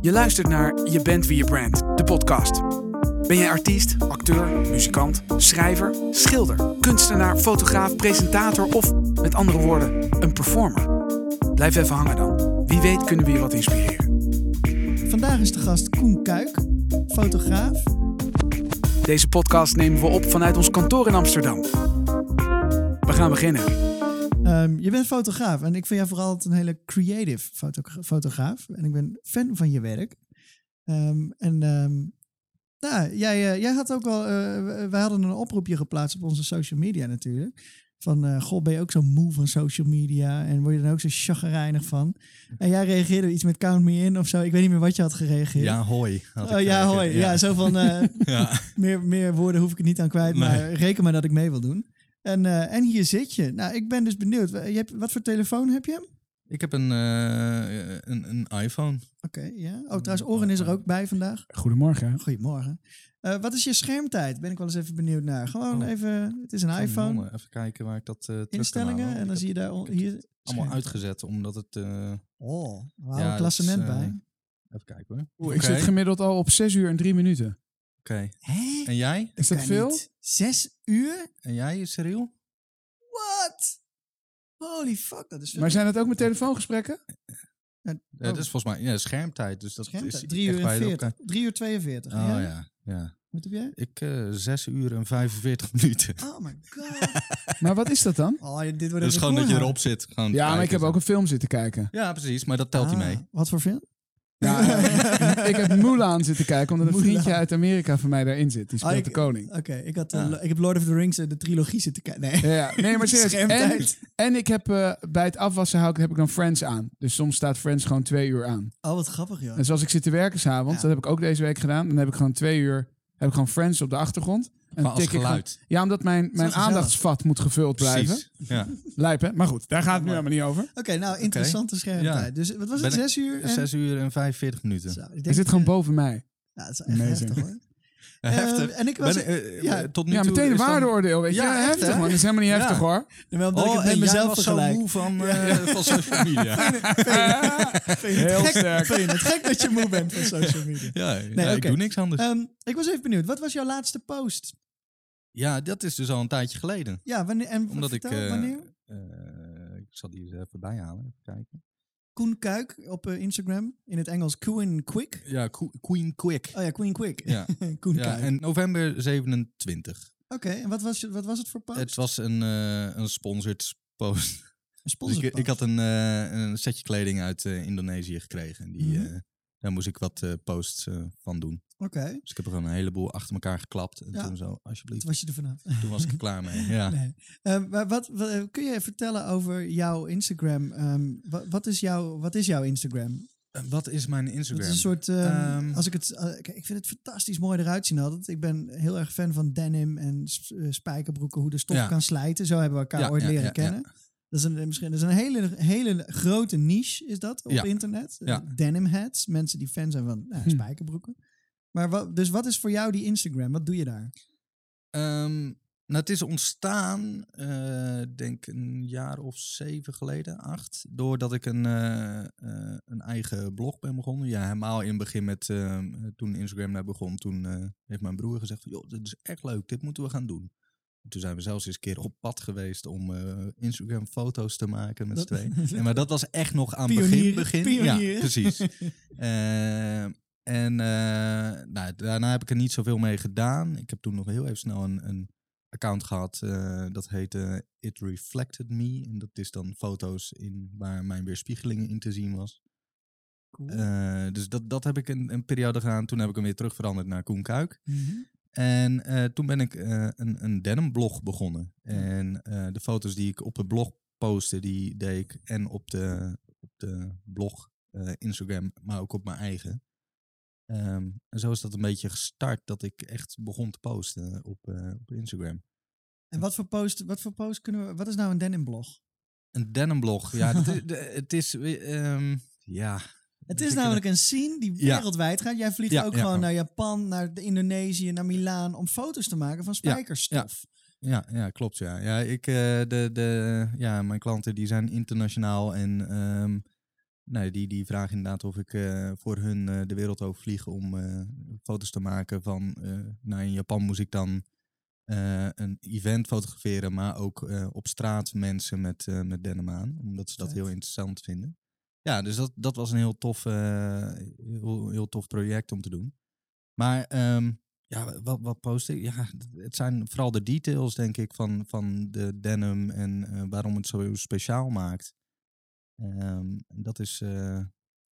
Je luistert naar Je bent wie je brand, de podcast. Ben jij artiest, acteur, muzikant, schrijver, schilder, kunstenaar, fotograaf, presentator of met andere woorden, een performer? Blijf even hangen dan. Wie weet kunnen we je wat inspireren. Vandaag is de gast Koen Kuik, fotograaf. Deze podcast nemen we op vanuit ons kantoor in Amsterdam. We gaan beginnen. Ehm, je bent fotograaf en ik vind jou vooral altijd een hele creative foto- fotograaf. En ik ben fan van je werk. Ehm, en ehm, nou, jij, eh, jij had ook al, eh, wij hadden een oproepje geplaatst op onze social media natuurlijk. Van, eh goh, ben je ook zo moe van social media? En word je er ook zo chagrijnig van? En jij reageerde iets met count me in of zo. Ik weet niet meer wat je had gereageerd. Ja, hoi. had ik Oh, ja, eigenlijk, hoi. eh, Ja. zo van, eh, Ja. meer, meer woorden hoef ik er niet aan kwijt, Nee. maar reken maar dat ik mee wil doen. En, eh, en hier zit je. Nou, ik ben dus benieuwd. Je hebt, wat voor telefoon heb je? Oké, Ik heb een, eh, een, een iPhone. ja. Oh, trouwens, Oren is er ook bij vandaag. Goedemorgen. Goedemorgen. Eh, wat is je schermtijd? Ben ik wel eens even benieuwd naar. Gewoon Oh. even, het is een Van iPhone, Nonnen. Even kijken waar ik dat eh terug kan instellingen. halen. En dan Ik zie je daar on- ik heb hier heb scherm. allemaal uitgezet, omdat het... eh, Oh, we ja, houden dat klassement is, eh, bij. Even kijken hoor. Ik zit gemiddeld al op 6 uur en 3 minuten. Oké. Hé? En jij? Is dat Kan veel? niet. Zes uur? En jij, Cyril? What? Holy fuck, dat is veel. Maar zijn dat ook mijn telefoongesprekken? Eh, dat is volgens mij ja, schermtijd. Dus dat Oh. Schermtijd. is 3 echt uur waar en je het op 40. 3 uur 42. kan- Oh ja. ja. Wat heb jij? Ik eh 6 uur en 45 minuten. Oh my god. Maar wat is dat dan? Oh, dit wordt Dat is even gewoon dat je doorgaan. erop zit. Gewoon Ja, maar ik kijken. heb ook een film zitten kijken. Ja, precies. Maar dat telt hij Ah, mee. Wat voor film? Ja, ik heb Mulan zitten kijken, omdat een Mulan. vriendje uit Amerika van mij daarin zit. Die speelt Ah, ik- de koning. Oké, ik, had, eh, Ah. lo- ik heb Lord of the Rings en de trilogie zitten kijken. Nee. Ja, ja. nee, maar serieus. En, Schermtijd. en ik heb eh, bij het afwassen hou ik, heb ik dan Friends aan. Dus soms staat Friends gewoon twee uur aan. Oh, wat grappig, joh. En zoals ik zit te werken s'avonds, Ja. dat heb ik ook deze week gedaan. Dan heb ik gewoon twee uur heb ik gewoon Friends op de achtergrond. En Maar als tik ik gewoon- geluid. ja, omdat mijn, mijn gezellig. aandachtsvat moet gevuld blijven. Precies. Ja. Lijp, hè? Maar goed, daar gaat het nu helemaal niet over. Oké, nou, interessante schermtijd. Ja. Dus wat was het, Ben ik- zes uur? En... 6 uur en 45 minuten. Zo, ik denk Hij zit dat gewoon je- boven mij. Ja, dat is echt Amazing. heftig, hoor. Heftig. Eh, en ik was... Ben, eh, eh, ja. tot nu Ja, toe meteen een is dan- waardeoordeel. Weet je? Ja, Ja, echt, heftig, hè? man. Dat is helemaal niet Ja. heftig, hoor. Terwijl omdat ik Oh, het en met jij mezelf was zo vergelijk. moe van, eh, van social media. Eh, Heel Gek- sterk. Vind je het gek dat je moe bent van social media? ja, Nee, ja, ik oké. doe niks anders. Ehm, ik was even benieuwd. Wat was jouw laatste post? ja, dat is dus al een tijdje geleden. Ja, wanneer, en Omdat vertel, ik... eh, wanneer? eh, ik zal die eens even bijhalen. Even kijken. Koen Kuik op eh, Instagram. In het Engels Koen Quick. Ja, Ko- Queen Quick. Oh ja, Queen Quick. Ja. Koen Ja, Kuik. en november 27. Oké, en wat was, je- wat was het voor post? Het was een, eh, een sponsored post. een Dus ik, sponsorpost. ik had een, eh, een setje kleding uit eh, Indonesië gekregen. En die, Mhm. eh, daar moest ik wat eh, posts eh, van doen. Oké, Dus ik heb er gewoon een heleboel achter elkaar geklapt. En Ja. toen zo, alsjeblieft. dat was je er vanaf. Toen was ik er klaar mee. Ja. Nee. Eh, maar wat, wat, eh, kun je vertellen over jouw Instagram? Ehm, wa- wat, is jouw, wat is jouw Instagram? Eh, Wat is mijn Instagram? Het is een soort... ehm, Ehm. als ik, het, eh, kijk, ik vind het fantastisch mooi eruit zien altijd. Ik ben heel erg fan van denim en s- eh, spijkerbroeken. Hoe de stof Ja. kan slijten. Zo hebben we elkaar Ja, ooit ja, leren ja, ja. kennen. Dat is een, eh, misschien, dat is een hele, hele grote niche, is dat, op Ja. internet. Eh, Ja. Denim hats. Mensen die fan zijn van nou, Hm. spijkerbroeken. Maar wat, dus wat is voor jou die Instagram? Wat doe je daar? Ehm, nou, het is ontstaan, eh, denk een jaar of zeven geleden, acht. Doordat ik een, eh, eh, een eigen blog ben begonnen. Ja, helemaal in het begin met, ehm, eh, toen Instagram daar begon, toen eh, heeft mijn broer gezegd van, joh, dit is echt leuk, dit moeten we gaan doen. Toen zijn we zelfs eens een keer op pad geweest om eh, Instagram foto's te maken met z'n Dat- tweeën. En, maar dat was echt nog aan Pionier- begin, begin. pionier. Ja, precies. Eh, en eh, nou, daarna heb ik er niet zoveel mee gedaan. Ik heb toen nog heel even snel een, een account gehad. eh, dat heette It Reflected Me. En dat is dan foto's in waar mijn weerspiegelingen in te zien was. Cool. Eh, dus dat, dat heb ik een, een periode gedaan. Toen heb ik hem weer terug veranderd naar Koen Kuik. Mhm. En eh, toen ben ik eh, een, een denim blog begonnen. En eh, de foto's die ik op het blog postte, die deed ik en op de, op de blog, eh, Instagram, maar ook op mijn eigen. Ehm, en zo is dat een beetje gestart dat ik echt begon te posten op, eh, op Instagram. En wat voor post, wat voor post kunnen we... Wat is nou een denim blog? Een denim-blog, ja, dat is, de- het is, eh, ehm, ja. Het Dus is ik- namelijk een scene die Ja. wereldwijd gaat. Jij vliegt Ja, ook ja. gewoon naar Japan, naar de Indonesië, naar Milaan... om foto's te maken van spijkerstof. Ja, ja klopt. Ja. Ja, ik, eh, de, de, ja, mijn klanten die zijn internationaal en ehm, Nee, die, die vragen inderdaad of ik eh, voor hun eh, de wereld over vlieg om eh, foto's te maken van... eh, nou, in Japan moest ik dan eh, een event fotograferen, maar ook eh, op straat mensen met, eh met denim aan. Omdat ze dat Vet. heel interessant vinden. Ja, dus dat, dat was een heel tof, eh, heel, heel tof project om te doen. Maar ehm, ja, wat, wat post ik? Ja, het zijn vooral de details, denk ik, van, van de denim en eh, waarom het zo speciaal maakt. Ehm, en dat, is, eh,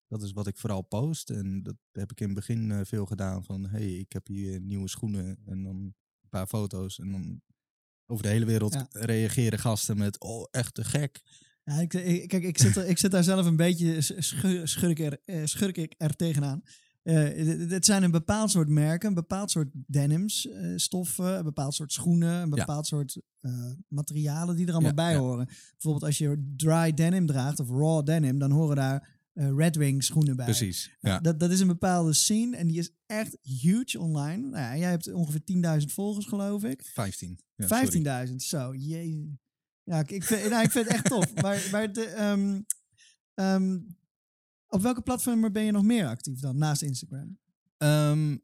dat is wat ik vooral post. En dat heb ik in het begin eh, veel gedaan van, hey, ik heb hier nieuwe schoenen en dan een paar foto's. En dan over de hele wereld Ja. reageren gasten met, oh, echt te gek. Ja, ik, ik- kijk, ik zit, er- ik zit daar zelf een beetje s- schur, schurk, er, eh, schurk ik er tegenaan. Eh, d- d- het zijn een bepaald soort merken, een bepaald soort denims, eh, stoffen, een bepaald soort schoenen, een Ja. bepaald soort eh, materialen die er allemaal Ja, bij ja. horen. Bijvoorbeeld als je dry denim draagt of raw denim, dan horen daar eh, Red Wing schoenen bij. Precies, ja. Dat, dat is een bepaalde scene en die is echt huge online. Nou ja, jij hebt ongeveer 10.000 volgers, geloof ik. 15. Ja, sorry. 15.000, zo, jee. Ja, ik, ik vind, nou, ik vind het echt tof. Maar, maar de, ehm, ehm, op welke platformen ben je nog meer actief dan, naast Instagram? Ehm,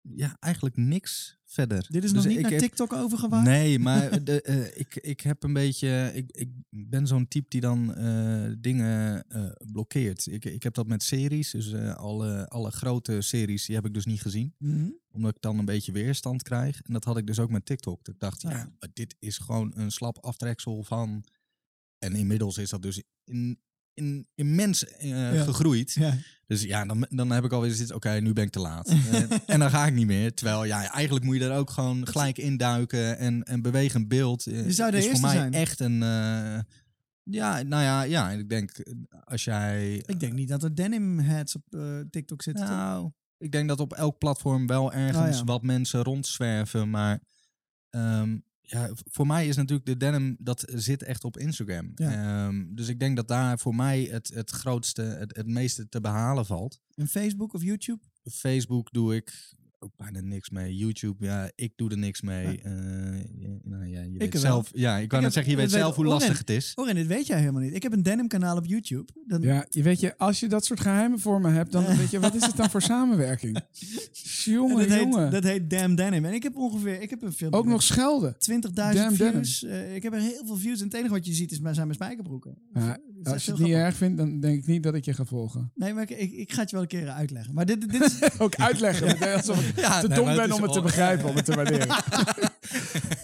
ja, eigenlijk niks verder. Dit is Dus nog niet ik naar heb- TikTok overgewaaid? Nee, maar de, eh, ik, ik heb een beetje. Ik, ik ben zo'n type die dan eh, dingen eh, blokkeert. Ik, ik heb dat met series. Dus eh, alle, alle grote series die heb ik dus niet gezien. Mhm. Omdat ik dan een beetje weerstand krijg. En dat had ik dus ook met TikTok. Dat ik dacht, Ah. ja, maar dit is gewoon een slap aftreksel van. En inmiddels is dat dus in, in, immens eh, gegroeid. Ja. Dus ja, dan, dan heb ik alweer zoiets, oké, nu ben ik te laat. Eh, en dan ga ik niet meer. Terwijl, ja, eigenlijk moet je daar ook gewoon gelijk induiken en, en bewegend beeld. eh, Je zou de is voor eerste mij zijn. echt een... eh, ja, nou ja, ja, ik denk eh, als jij... Ik denk niet dat er denim heads op eh, TikTok zitten. toch? Nou, ik denk dat op elk platform wel ergens Oh ja. wat mensen rondzwerven. Maar ehm, ja, v- voor mij is natuurlijk de denim, dat zit echt op Instagram. Ehm, dus ik denk dat daar voor mij het, het grootste, het, het meeste te behalen valt. En Facebook of YouTube? Facebook doe ik ook bijna niks mee. YouTube, ja, ik doe er niks mee. Nee. Eh, ja, nou ja, je Ik weet wel. zelf. Ja, ik kan heb- net zeggen, je ik weet weet zelf hoe ook lastig net. het is. Oh, en dit weet jij helemaal niet. Ik heb een denim kanaal op YouTube. Dan, Ja, je weet je, als je dat soort geheimen voor me hebt, dan weet je, wat is het dan voor samenwerking? en Jongen, dat, jongen. Heet, dat heet Damn Denim. En ik heb ongeveer, ik heb een filmpje Ook met nog schelden. 20.000 Damn Denim. views. Eh, ik heb er heel veel views. En het enige wat je ziet is mijn, zijn mijn spijkerbroeken. Ja, Dat is echt Als je heel het niet grappig. erg vindt, dan denk ik niet dat ik je ga volgen. Nee, maar ik, ik, ik ga het je wel een keer eh, uitleggen. Maar dit, dit is... Ook uitleggen. want eh, Alsof ik Ja, te nee, dom maar ben is om het te wel- begrijpen, om het te waarderen.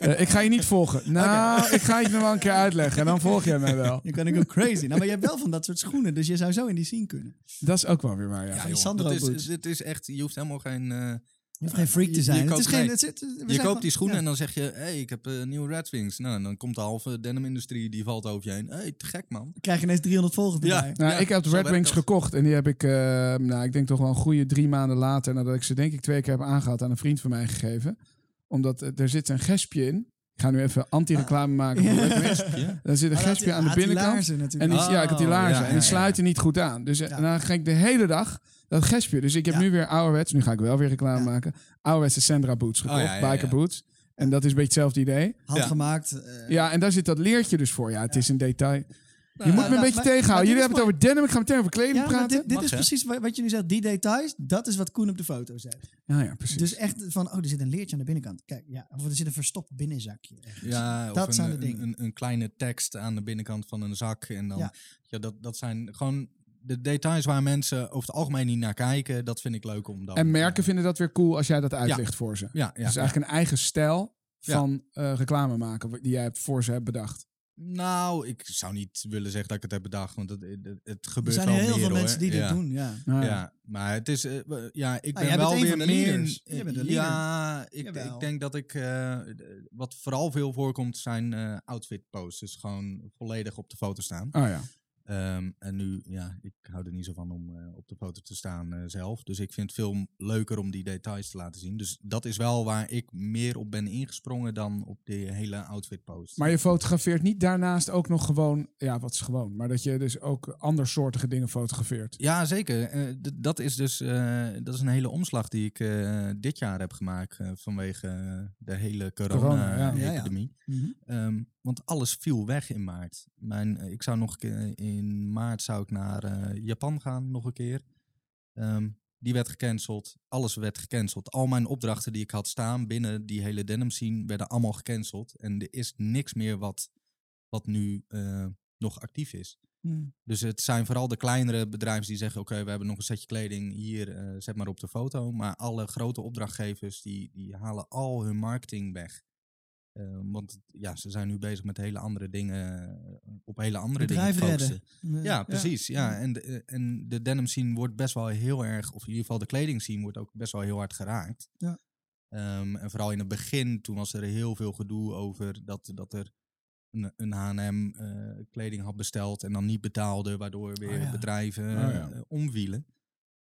Eh, ik ga je niet volgen. Nou, ik ga het nog wel een keer uitleggen. En dan volg jij mij wel. Dan kan ik ook crazy. Nou, maar je hebt wel van dat soort schoenen. Dus je zou zo in die scene kunnen. Dat is ook wel weer waar, ja. Ja, die joh, Sandro dat is, boots. het is echt, je hoeft helemaal geen... eh, Je hoeft geen freak te zijn. Je het is koopt- geen, nee. het zit- we zijn je gewoon- koopt die schoenen ja. en dan zeg je, hé, hey, ik heb eh, nieuwe Red Wings. Nou, en dan komt de halve denim-industrie, die valt over je heen. Hé, hey, te gek, man. Dan krijg je ineens 300 volgers Ja. bij. Nou, Ja, ik heb zo Red werkt Wings dat. gekocht en die heb ik, eh, nou, ik denk toch wel een goede drie maanden later, nadat ik ze denk ik twee keer heb aangehad, aan een vriend van mij gegeven. Omdat eh, er zit een gespje in. Ik ga nu even anti-reclame maken voor Red Wings. Ja. Er Oh, zit een gespje ah, aan de binnenkant. En natuurlijk. die, ja, ik heb die Oh, laarzen. ja, en die ja, sluiten niet goed aan. Dus eh, Ja. en dan ging ik de hele dag dat gespje. Dus ik heb Ja. nu weer ouderwets, nu ga ik wel weer reclame Ja. maken, ouderwetse Sandra boots gekocht, Oh, ja, ja, ja. biker boots. En dat is een beetje hetzelfde idee. Handgemaakt. eh, Ja, en daar zit dat leertje dus voor. Ja, het is een detail. Je moet me nou, een beetje maar- maar tegenhouden. dit Jullie is hebben het over denim. Ik ga meteen over kleding ja, maar praten. dit, dit Mag, is hè? precies wa- wat je nu zegt. Die details, dat is wat Koen op de foto zegt. Ja, ja, precies. Dus echt van, oh, er zit een leertje aan de binnenkant. Kijk, ja. Of er zit een verstopt binnenzakje. Ja, of Dat een, eh, zijn de een- dingen. Een, een kleine tekst aan de binnenkant van een zak. En dan, Ja. ja. dat, dat zijn gewoon de details waar mensen over het algemeen niet naar kijken. Dat vind ik leuk om dan... en merken eh, vinden dat weer cool als jij dat uitlicht voor ze. Ja, ja. dus ja. eigenlijk een eigen stijl Ja. van eh, reclame maken die jij hebt voor ze hebt bedacht. Nou, ik zou niet willen zeggen dat ik het heb bedacht, want het, het, het Er gebeurt zijn wel heel meer, veel mensen hoor. die dit Ja. doen, ja. Nou, ja. Ja, maar het is, eh, w- ja, ik Nou, ben jij bent wel een weer van de meer in- leaders. Jij bent de leader. Ja, ik, Jawel. ik denk dat ik, eh, d- wat vooral veel voorkomt, zijn eh, outfit posts. Dus gewoon volledig op de foto staan. Oh ja. Ehm, en nu, ja, ik hou er niet zo van om eh, op de foto te staan eh, zelf. Dus ik vind het veel m- leuker om die details te laten zien. Dus dat is wel waar ik meer op ben ingesprongen dan op de hele outfit post. Maar je fotografeert niet daarnaast ook nog gewoon, ja, wat is gewoon, maar dat je dus ook andersoortige dingen fotografeert. Ja, zeker. Eh, d- dat is dus eh, dat is een hele omslag die ik eh, dit jaar heb gemaakt eh, vanwege eh, de hele Corona, ja. corona-epidemie. Ja, ja. Ehm, want alles viel weg in maart. Mijn, eh, ik zou nog een keer in maart zou ik naar eh, Japan gaan, nog een keer. Ehm, die werd gecanceld. Alles werd gecanceld. Al mijn opdrachten die ik had staan binnen die hele denim scene werden allemaal gecanceld. En er is niks meer wat, wat nu eh, nog actief is. Dus het zijn vooral de kleinere bedrijven die zeggen: Oké, we hebben nog een setje kleding hier, eh, zet maar op de foto. Maar alle grote opdrachtgevers die, die halen al hun marketing weg. Eh, want ja, ze zijn nu bezig met hele andere dingen, eh, op hele andere Bedrijf dingen redden. focussen. Eh, Ja, precies. Ja. En, de, eh, en de denim scene wordt best wel heel erg, of in ieder geval de kleding scene wordt ook best wel heel hard geraakt. Ja. Ehm, en vooral in het begin, toen was er heel veel gedoe over dat, dat er een, een H&M eh, kleding had besteld en dan niet betaalde, waardoor weer Oh ja. bedrijven Oh ja. eh, omwielen.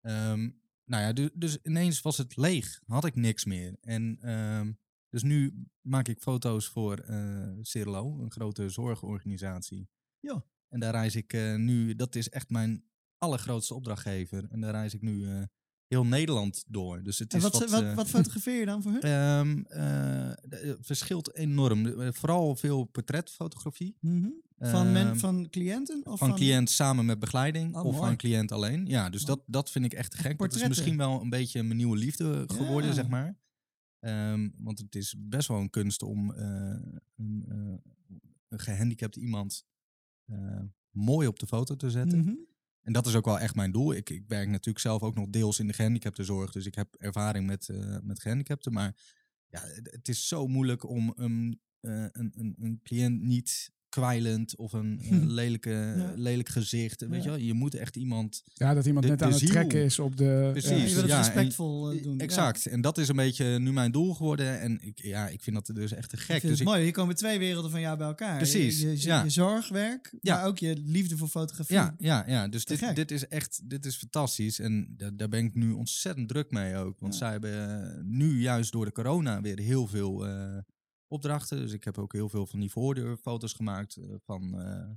Ehm, nou ja, du- dus ineens was het leeg, had ik niks meer. En ehm, dus nu maak ik foto's voor eh Cirlo, een grote zorgorganisatie. Ja. En daar reis ik eh, nu, dat is echt mijn allergrootste opdrachtgever. En daar reis ik nu eh, heel Nederland door. Dus het En is wat, wat, wat, wat, eh, fotografeer je dan voor hun? ehm, eh, d- eh, verschilt enorm. Eh, Vooral veel portretfotografie. Mhm. van, men, Ehm, van cliënten? Of van, cliënt samen met begeleiding Oh, of mooi. van cliënt alleen. Ja, dus dat, dat vind ik echt te gek. Dat is portretten. misschien wel een beetje mijn nieuwe liefde eh, geworden, Ja. zeg maar. Ehm, want het is best wel een kunst om eh, een, eh, een gehandicapt iemand eh, mooi op de foto te zetten. Mhm. En dat is ook wel echt mijn doel. Ik, ik werk natuurlijk zelf ook nog deels in de gehandicaptenzorg. Dus ik heb ervaring met, eh, met gehandicapten. Maar ja, het het is zo moeilijk om een, eh, een, een, een cliënt niet kwijlend of een, eh, lelijke, Ja. lelijk gezicht. Weet Ja. je, wel? je moet echt iemand Ja, dat iemand De- net de aan het ziel. trekken is op de... Ja, Precies. je wil het Ja, en- e- respectvol eh, doen. Exact. En dat is een beetje nu mijn doel geworden. En ik, ja, ik vind dat dus echt te Ja. Ik gek. vind Dus het ik, mooi. Hier komen twee werelden van jou bij elkaar. Precies, Je, je, je- ja. je zorgwerk, Ja. maar ook je liefde voor fotografie. ja, ja, ja, dus Te gek. dit, dit is echt dit is fantastisch. En da- daar ben ik nu ontzettend druk mee ook. Want Ja. zij hebben eh, nu juist door de corona weer heel veel eh, opdrachten. Dus ik heb ook heel veel van die voordeurfoto's gemaakt eh, van, eh,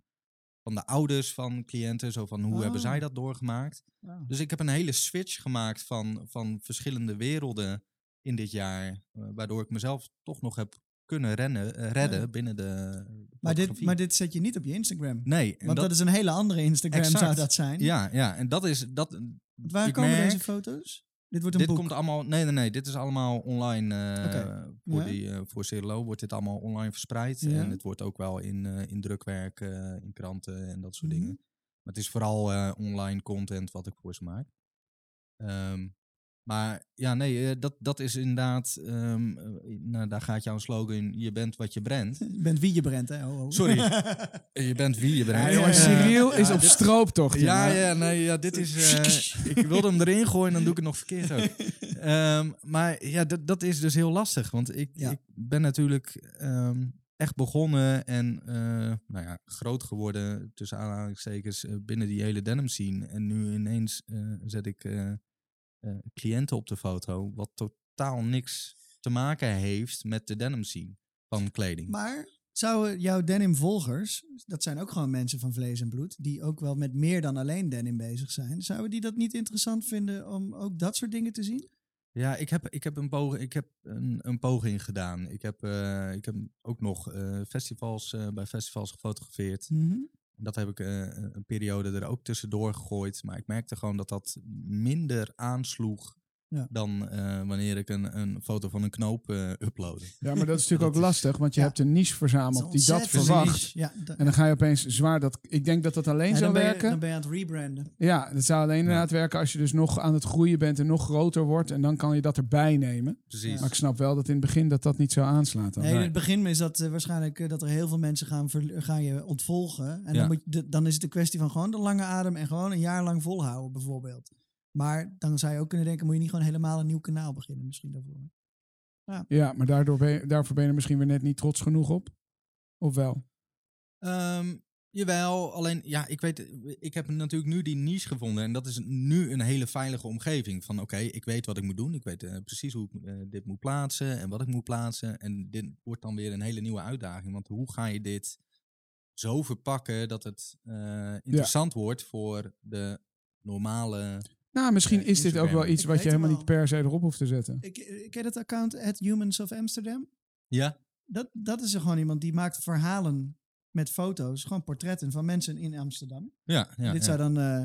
van de ouders van cliënten. Zo van hoe Oh. hebben zij dat doorgemaakt. Wauw. Dus ik heb een hele switch gemaakt van, van verschillende werelden in dit jaar. eh, waardoor ik mezelf toch nog heb kunnen rennen, eh, redden Ja. binnen de. Maar, dit, fotografie. maar dit zet je niet op je Instagram. Nee, en Want dat, dat, is een hele andere Instagram, Exact. zou dat zijn. ja, ja, en dat is. Dat, eh, Want waar ik komen merk- deze foto's? Dit wordt een Dit boek. komt allemaal. Nee, nee, nee. Dit is allemaal online. eh, Oké. voor, Ja. die, eh, voor CLO wordt dit allemaal online verspreid. Ja. En het wordt ook wel in, eh, in drukwerk, eh, in kranten en dat soort Mhm. dingen. Maar het is vooral eh, online content wat ik voor ze maak. Ehm, maar ja, nee, eh, dat, dat is inderdaad. ehm, eh, nou, daar gaat jouw slogan: je bent wat je bent. Je bent wie je brent, hè? Oh, oh. Sorry. Eh, je bent wie je bent. Eh, Ja, Ja, jongen, ja, ja. Cyril is Ja, op dit- strooptocht. Ja, jongen. ja, nee, ja, dit is. eh, ik wilde hem erin gooien, dan doe ik het nog verkeerd ook. Ehm, maar ja, dat- dat is dus heel lastig. Want ik, Ja. ik ben natuurlijk ehm, echt begonnen en eh, nou ja, groot geworden, tussen aanhalingstekens, eh, binnen die hele denim scene. En nu ineens eh, zet ik eh, eh, cliënten op de foto, wat totaal niks te maken heeft met de denim scene van kleding. Maar zouden jouw denim-volgers, dat zijn ook gewoon mensen van vlees en bloed, die ook wel met meer dan alleen denim bezig zijn, zouden die dat niet interessant vinden om ook dat soort dingen te zien? Ja, ik heb, ik heb, een, poging, ik heb een, een poging gedaan. Ik heb, eh, ik heb ook nog eh, festivals, eh, bij festivals gefotografeerd. Mhm. Dat heb ik eh, een periode er ook tussendoor gegooid. Maar ik merkte gewoon dat dat minder aansloeg Ja. dan eh, wanneer ik een, een foto van een knoop eh uploadde. Ja, maar dat is natuurlijk Dat ook is- lastig, want je Ja. hebt een niche verzameld die dat Ontzettend verwacht. niche. Ja, da- En dan ga je opeens zwaar dat... Ik denk dat dat alleen en zou dan, ben je, werken. dan ben je aan het rebranden. Ja, dat zou alleen inderdaad werken als je dus nog aan het groeien bent en nog groter wordt. En dan kan je dat erbij nemen. Precies. Maar ik snap wel dat in het begin dat dat niet zo aanslaat. Dan. Nee, in nee. het begin is dat eh, waarschijnlijk eh, dat er heel veel mensen gaan, ver- gaan je ontvolgen. En dan, Ja. moet je, de- dan is het een kwestie van gewoon de lange adem en gewoon een jaar lang volhouden bijvoorbeeld. Maar dan zou je ook kunnen denken, moet je niet gewoon helemaal een nieuw kanaal beginnen misschien daarvoor. Ja, maar daardoor ben je, daarvoor ben je er misschien weer net niet trots genoeg op. Of wel? Ehm, jawel, alleen ja, ik weet, ik heb natuurlijk nu die niche gevonden en dat is nu een hele veilige omgeving. Van oké, ik weet wat ik moet doen, ik weet eh, precies hoe ik eh, dit moet plaatsen en wat ik moet plaatsen. En dit wordt dan weer een hele nieuwe uitdaging, want hoe ga je dit zo verpakken dat het eh, interessant wordt voor de normale... Nou, misschien Ja, is dit ook Instagram. wel iets Ik wat weet je helemaal hem niet per se erop hoeft te zetten. Ik, eh, ken je dat account at Humans of Amsterdam? Ja, dat, dat is er gewoon iemand die maakt verhalen met foto's, gewoon portretten van mensen in Amsterdam. Ja, ja, Dit ja. zou dan eh,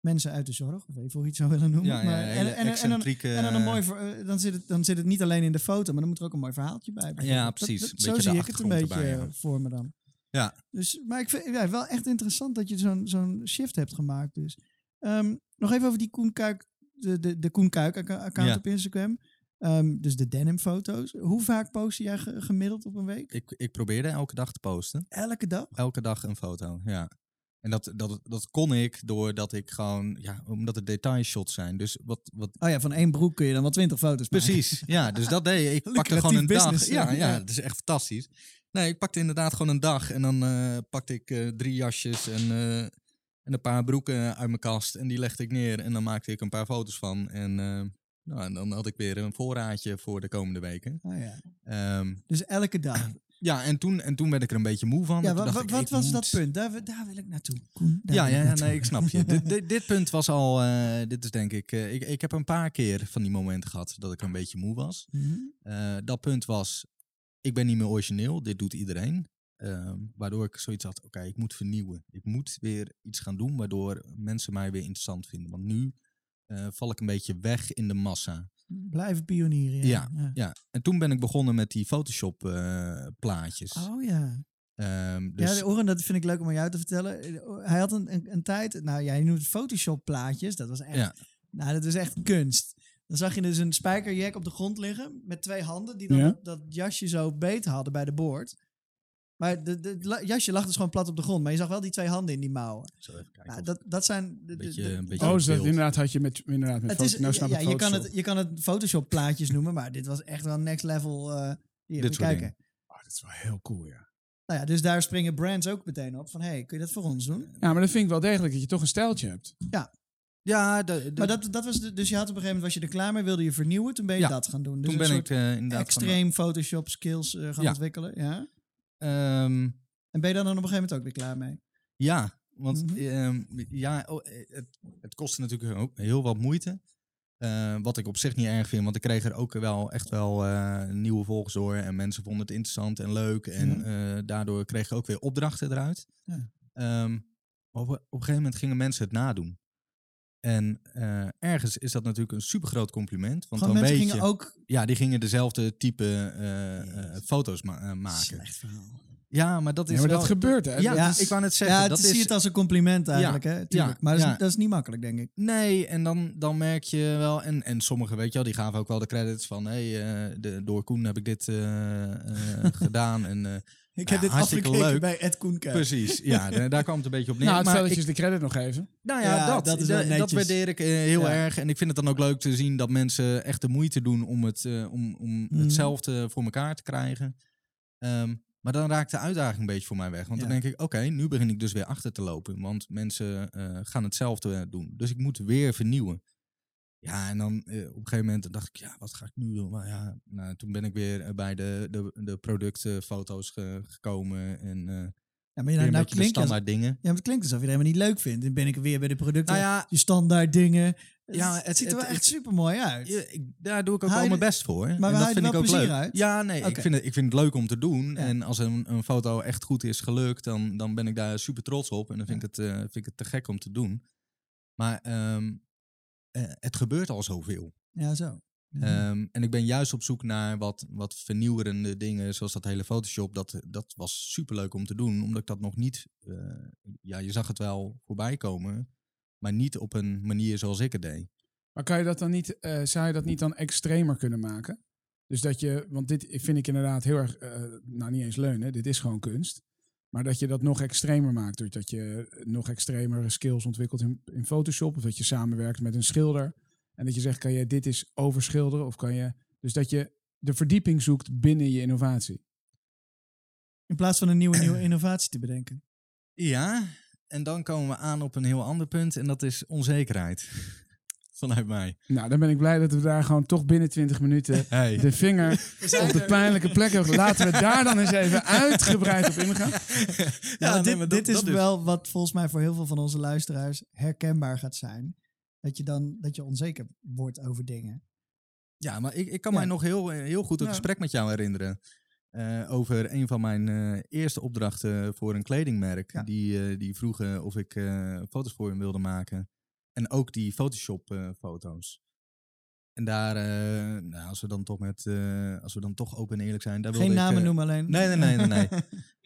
mensen uit de zorg, of even hoe je het zou willen noemen. ja, ja, maar, hele en, en, en, dan, excentrieke, en dan een mooi, ver- eh, dan, zit het, dan zit het niet alleen in de foto, maar dan moet er ook een mooi verhaaltje bij. bijvoorbeeld. precies. Dat, dat, Beetje zo de zie ik het een achtergrond beetje erbij, ja. eh, voor me dan. Ja. Dus, maar ik vind ja, wel echt interessant dat je zo'n zo'n shift hebt gemaakt. Dus. Ehm, nog even over die Koen Kuik, de, de, de Koen Kuik acca- account Ja. op Instagram. Ehm, dus de denim foto's. Hoe vaak post jij ge- gemiddeld op een week? ik, ik probeerde elke dag te posten. Elke dag? Elke dag een foto, ja. En dat, dat, dat kon ik doordat ik gewoon, ja, omdat het detailshots zijn. Dus wat, wat Oh ja, van één broek kun je dan wel twintig foto's maken. Precies, ja. Dus dat deed ik. Ik pakte Lucratief gewoon een business, eh, dag. Ja, ja. ja, het is echt fantastisch. Nee, ik pakte inderdaad gewoon een dag. En dan eh, pakte ik eh, drie jasjes en, eh, en een paar broeken uit mijn kast. En die legde ik neer. En dan maakte ik een paar foto's van. En, eh, nou, en dan had ik weer een voorraadje voor de komende weken. Oh ja. Ehm, Dus elke dag. ja, en toen, en toen werd ik er een beetje moe van. Ja, En wa- toen wa- dacht wat ik, ik was moet- dat punt? Daar, wi- daar wil ik naartoe. Koen, daar Ja, wil ik ja, ja, naartoe. nee, ik snap je. dit, dit, dit punt was al, eh, dit is denk ik, eh, ik, ik heb een paar keer van die momenten gehad dat ik een beetje moe was. Mhm. Eh, dat punt was, ik ben niet meer origineel, dit doet iedereen. Ehm, waardoor ik zoiets had, oké, ik moet vernieuwen. Ik moet weer iets gaan doen waardoor mensen mij weer interessant vinden. Want nu eh, val ik een beetje weg in de massa. Blijven pionieren. Ja. ja. Ja, en toen ben ik begonnen met die Photoshop eh, plaatjes. Oh ja. Ehm, dus Ja, Oren, dat vind ik leuk om aan jou te vertellen. Eh, oh, Hij had een, een, een tijd, nou jij noemt Photoshop plaatjes, dat was echt, Ja. nou dat is echt kunst. Dan zag je dus een spijkerjack op de grond liggen met twee handen die dan Ja. dat, dat jasje zo beet hadden bij de boord. Maar de, de, het la- jasje lag dus gewoon plat op de grond, maar je zag wel die twee handen in die mouwen. Zo even kijken Nou, of- dat, dat zijn... de- de- Beetje- de- een beetje- Oh, Ja, dus dat beeld. inderdaad had je met, inderdaad met Het is, foto- nou snap ja, ik je, kan het, Photoshop. je kan het Photoshop plaatjes noemen, maar dit was echt wel next level. eh hier, Dit moet je soort kijken. Oh, dat is wel heel cool, ja. Nou ja, dus daar springen brands ook meteen op van, hey, kun je dat voor ons Eh, doen? Ja, maar dat vind ik wel degelijk dat je toch een stijltje hebt. ja de- de- Maar dat, dat was de- dus je had op een gegeven moment, was je er klaar mee, wilde je vernieuwen, toen ben je Ja. dat gaan doen. Dus toen een ben ik soort eh, inderdaad van... extreem Photoshop skills eh, gaan Ja. ontwikkelen, ja. Ehm, En ben je daar dan op een gegeven moment ook weer klaar mee? Ja, want Mhm. ehm, ja, oh, eh, het, het kostte natuurlijk ook heel wat moeite. Eh, wat ik op zich niet erg vind, want ik kreeg er ook wel echt wel eh, nieuwe volgers door. En mensen vonden het interessant en leuk. En eh, daardoor kreeg ik ook weer opdrachten eruit. Ja. Ehm, maar op, op een gegeven moment gingen mensen het nadoen. En eh, ergens is dat natuurlijk een supergroot compliment. Want Gewoon dan mensen weet gingen je, ook... ja, die gingen dezelfde type eh, eh, Jezus. foto's ma- eh, maken. Slecht verhaal. Ja, maar dat is Ja, maar wel... dat gebeurt, hè? ja, dat dus is- ik wou net zeggen, Ja, het dat zie is je het als een compliment eigenlijk, hè? Tuurlijk. ja, maar dat is, ja. dat is niet makkelijk, denk ik. Nee, en dan, dan merk je wel... En, en sommigen, weet je wel, die gaven ook wel de credits van... Hey, eh, de, door Koen heb ik dit eh, eh, gedaan. En, eh, Ik heb dit hartstikke afgekeken leuk. bij Ed Koenke. precies, ja, daar daar kwam het een beetje op neer. Nou, het maar stelletjes ik- de credit nog geven. nou ja, Ja, dat, dat dat, is wel netjes. dat waardeer ik eh, heel Ja. erg. En ik vind het dan ook leuk te zien dat mensen echt de moeite doen... om, het, eh, om, om Mhm. hetzelfde voor elkaar te krijgen. Ehm, maar dan raakt de uitdaging een beetje voor mij weg. Want Ja. dan denk ik, oké, nu begin ik dus weer achter te lopen. Want mensen eh, gaan hetzelfde doen. Dus ik moet weer vernieuwen. Ja, en dan eh, op een gegeven moment dacht ik, ja, wat ga ik nu doen? Maar ja, nou, toen ben ik weer eh, bij de, de, de productfoto's ge- gekomen. En eh weer Ja, maar een ja, nou, beetje klinkt de het, ja, standaard dingen. maar het klinkt alsof je het helemaal niet leuk vindt. Dan ben ik weer bij de producten. Nou ja, Je standaard dingen. Ja, het, het- ziet er wel het- echt super mooi uit. ja, ik, daar doe ik ook Haal je al mijn de- best voor. en maar dat haal je er vind ik wel ook plezier leuk. uit? Ja, nee, Oké. ik, vind het, ik vind het leuk om te doen. Ja. En als een, een foto echt goed is gelukt, dan, dan ben ik daar super trots op. En dan vind, ik het, eh, vind ik het te gek om te doen. Maar ehm, eh, het gebeurt al zoveel. Ja, zo. Ehm, en ik ben juist op zoek naar wat, wat vernieuwerende dingen, zoals dat hele Photoshop. Dat, dat was superleuk om te doen, omdat ik dat nog niet... eh, ja, je zag het wel voorbij komen, maar niet op een manier zoals ik het deed. Maar kan je dat dan niet, eh, zou je dat niet dan extremer kunnen maken? Dus dat je, want dit vind ik inderdaad heel erg, eh, nou niet eens leunen, dit is gewoon kunst. Maar dat je dat nog extremer maakt, doordat je eh, nog extremere skills ontwikkelt in, in Photoshop. Of dat je samenwerkt met een schilder. En dat je zegt, kan je dit eens overschilderen? Of kan je, dus dat je de verdieping zoekt binnen je innovatie. In plaats van een nieuwe, nieuwe innovatie te bedenken. Ja, en dan komen we aan op een heel ander punt en dat is onzekerheid. Vanuit mij. Nou, dan ben ik blij dat we daar gewoon toch binnen 20 minuten Hey. Dus- de vinger op de pijnlijke plek hebben. Laten we daar dan eens even uitgebreid op ingaan. Ja, nee, dit, maar dat- dit is dat dus. wel wat volgens mij voor heel veel van onze luisteraars herkenbaar gaat zijn. Dat je dan dat je onzeker wordt over dingen. Ja, maar ik, ik kan Ja. mij nog heel, heel goed een Ja. gesprek met jou herinneren. eh, over een van mijn eh, eerste opdrachten voor een kledingmerk. Ja. Die, eh, die vroegen of ik eh, foto's voor hem wilde maken. En ook die Photoshop-foto's. en daar, eh, nou, als we dan toch met, eh, als we dan toch open en eerlijk zijn. Daar Geen wilde ik, namen eh, noemen alleen. Nee, nee, nee, nee, nee.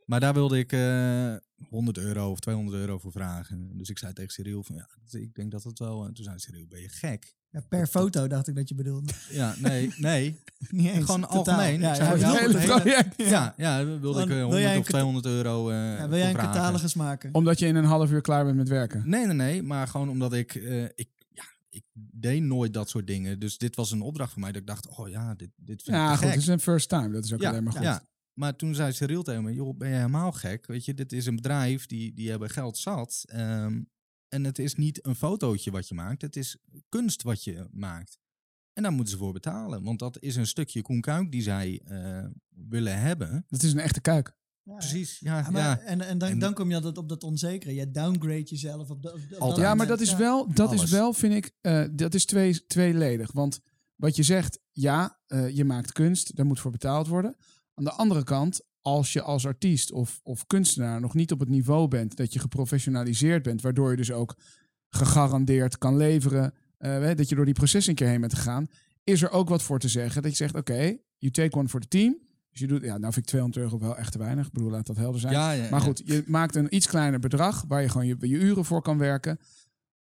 Maar daar wilde ik eh, 100 euro of 200 euro voor vragen. Dus ik zei tegen Cyril van, ja, dus ik denk dat dat wel... En toen zei Cyril, ben je gek? Ja, per foto dacht ik dat je bedoelde. Ja, nee, nee. Niet eens. Gewoon totaal. algemeen. Ja, Ik ja, zou ja, jou ja, het ja, hele- project. Ja, ja Gewoon, wilde ik eh, wil 100 jij een of kata- 200 euro eh ja, wil jij een voor vragen. catalogus maken? Omdat je in een half uur klaar bent met werken. Nee, nee, nee. Maar gewoon omdat ik... eh, ik ja, ik deed nooit dat soort dingen. Dus dit was een opdracht voor mij. Dat ik dacht, oh ja, dit, dit vind Ja, ik te goed. gek. Het is een first time. Dat is ook alleen maar goed. Ja. Maar toen zei Cyril tegen me, joh, ben je helemaal gek? Weet je, dit is een bedrijf, die, die hebben geld zat. ehm, en het is niet een fotootje wat je maakt, het is kunst wat je maakt. En daar moeten ze voor betalen. Want dat is een stukje Koen Kuik die zij eh, willen hebben. Dat is een echte kuik. Ja. Precies, ja. Ja, ja, maar, eh, En, en, dan, En- dan kom je altijd op dat onzekere. Je downgrade jezelf op, de, op, op Altijd. Ja, maar moment. dat is Ja. wel, dat is Alles. wel vind ik, eh, dat is twee, tweeledig. Want wat je zegt, ja, eh, je maakt kunst, daar moet voor betaald worden. Aan de andere kant, als je als artiest of, of kunstenaar nog niet op het niveau bent dat je geprofessionaliseerd bent, waardoor je dus ook gegarandeerd kan leveren, eh, hè, dat je door die proces een keer heen bent gegaan, is er ook wat voor te zeggen dat je zegt, oké, you take one for the team. Dus je doet, ja, nou vind ik 200 euro wel echt te weinig. Ik bedoel, laat dat helder zijn. ja, ja. Maar goed, je maakt een iets kleiner bedrag waar je gewoon je, je uren voor kan werken.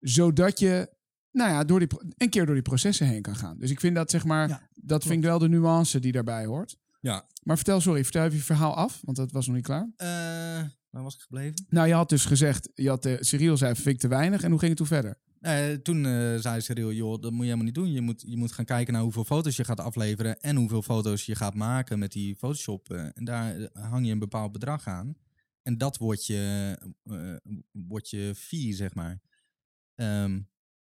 Zodat je nou ja, door die, pro- een keer door die processen heen kan gaan. Dus ik vind dat zeg maar, Ja, dat vind ik wel de nuance die daarbij hoort. Ja. Maar vertel, sorry, vertel even je verhaal af, want dat was nog niet klaar. Eh, waar was ik gebleven? Nou, je had dus gezegd, je had, eh, Cyril zei, vind ik te weinig. En hoe ging het toen verder? Eh, toen eh, zei Cyril, joh, dat moet je helemaal niet doen. Je moet, je moet gaan kijken naar hoeveel foto's je gaat afleveren en hoeveel foto's je gaat maken met die Photoshop. eh. en daar eh, hang je een bepaald bedrag aan. En dat wordt je, eh, wordt je fee, zeg maar. Ehm,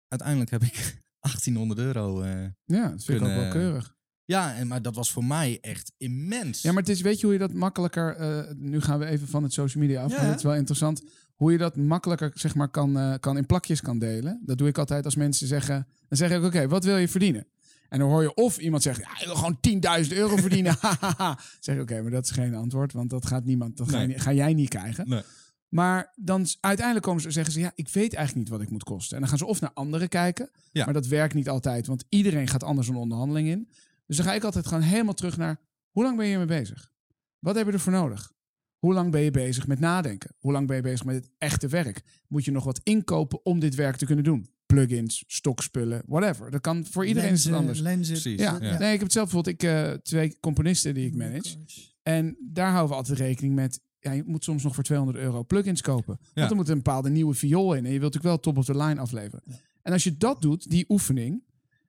uiteindelijk heb ik 1800 euro. eh. Ja, dat vind ik ook Kunnen- wel keurig. Ja, en, maar dat was voor mij echt immens. Ja, maar het is, weet je hoe je dat makkelijker... eh, nu gaan we even van het social media af, Ja, maar hè? dat is wel interessant. Hoe je dat makkelijker, zeg maar, kan, eh, kan in plakjes kan delen. Dat doe ik altijd als mensen zeggen... Dan zeg ik, oké, wat wil je verdienen? En dan hoor je of iemand zegt, ja, ik wil gewoon 10.000 euro verdienen. hahaha. zeg ik, oké, maar dat is geen antwoord, want dat gaat niemand... Dat ga, je Nee. niet- ga jij niet krijgen. Nee. Maar dan s- uiteindelijk komen ze zeggen ze, ja, ik weet eigenlijk niet wat ik moet kosten. En dan gaan ze of naar anderen kijken, Ja. maar dat werkt niet altijd, want iedereen gaat anders een onderhandeling in. Dus dan ga ik altijd gewoon helemaal terug naar, hoe lang ben je ermee bezig? Wat heb je ervoor nodig? Hoe lang ben je bezig met nadenken? Hoe lang ben je bezig met het echte werk? Moet je nog wat inkopen om dit werk te kunnen doen? Plugins, stokspullen, whatever. Dat kan voor iedereen is het Lenzen- anders. lenzen- Precies, Ja. ja. Nee, ik heb het zelf bijvoorbeeld. Ik eh, twee componisten die ik manage. En daar houden we altijd rekening met. Ja, je moet soms nog voor 200 euro plugins kopen. Want er moet een bepaalde nieuwe viool in. En je wilt natuurlijk wel top of the line afleveren. En als je dat doet, die oefening,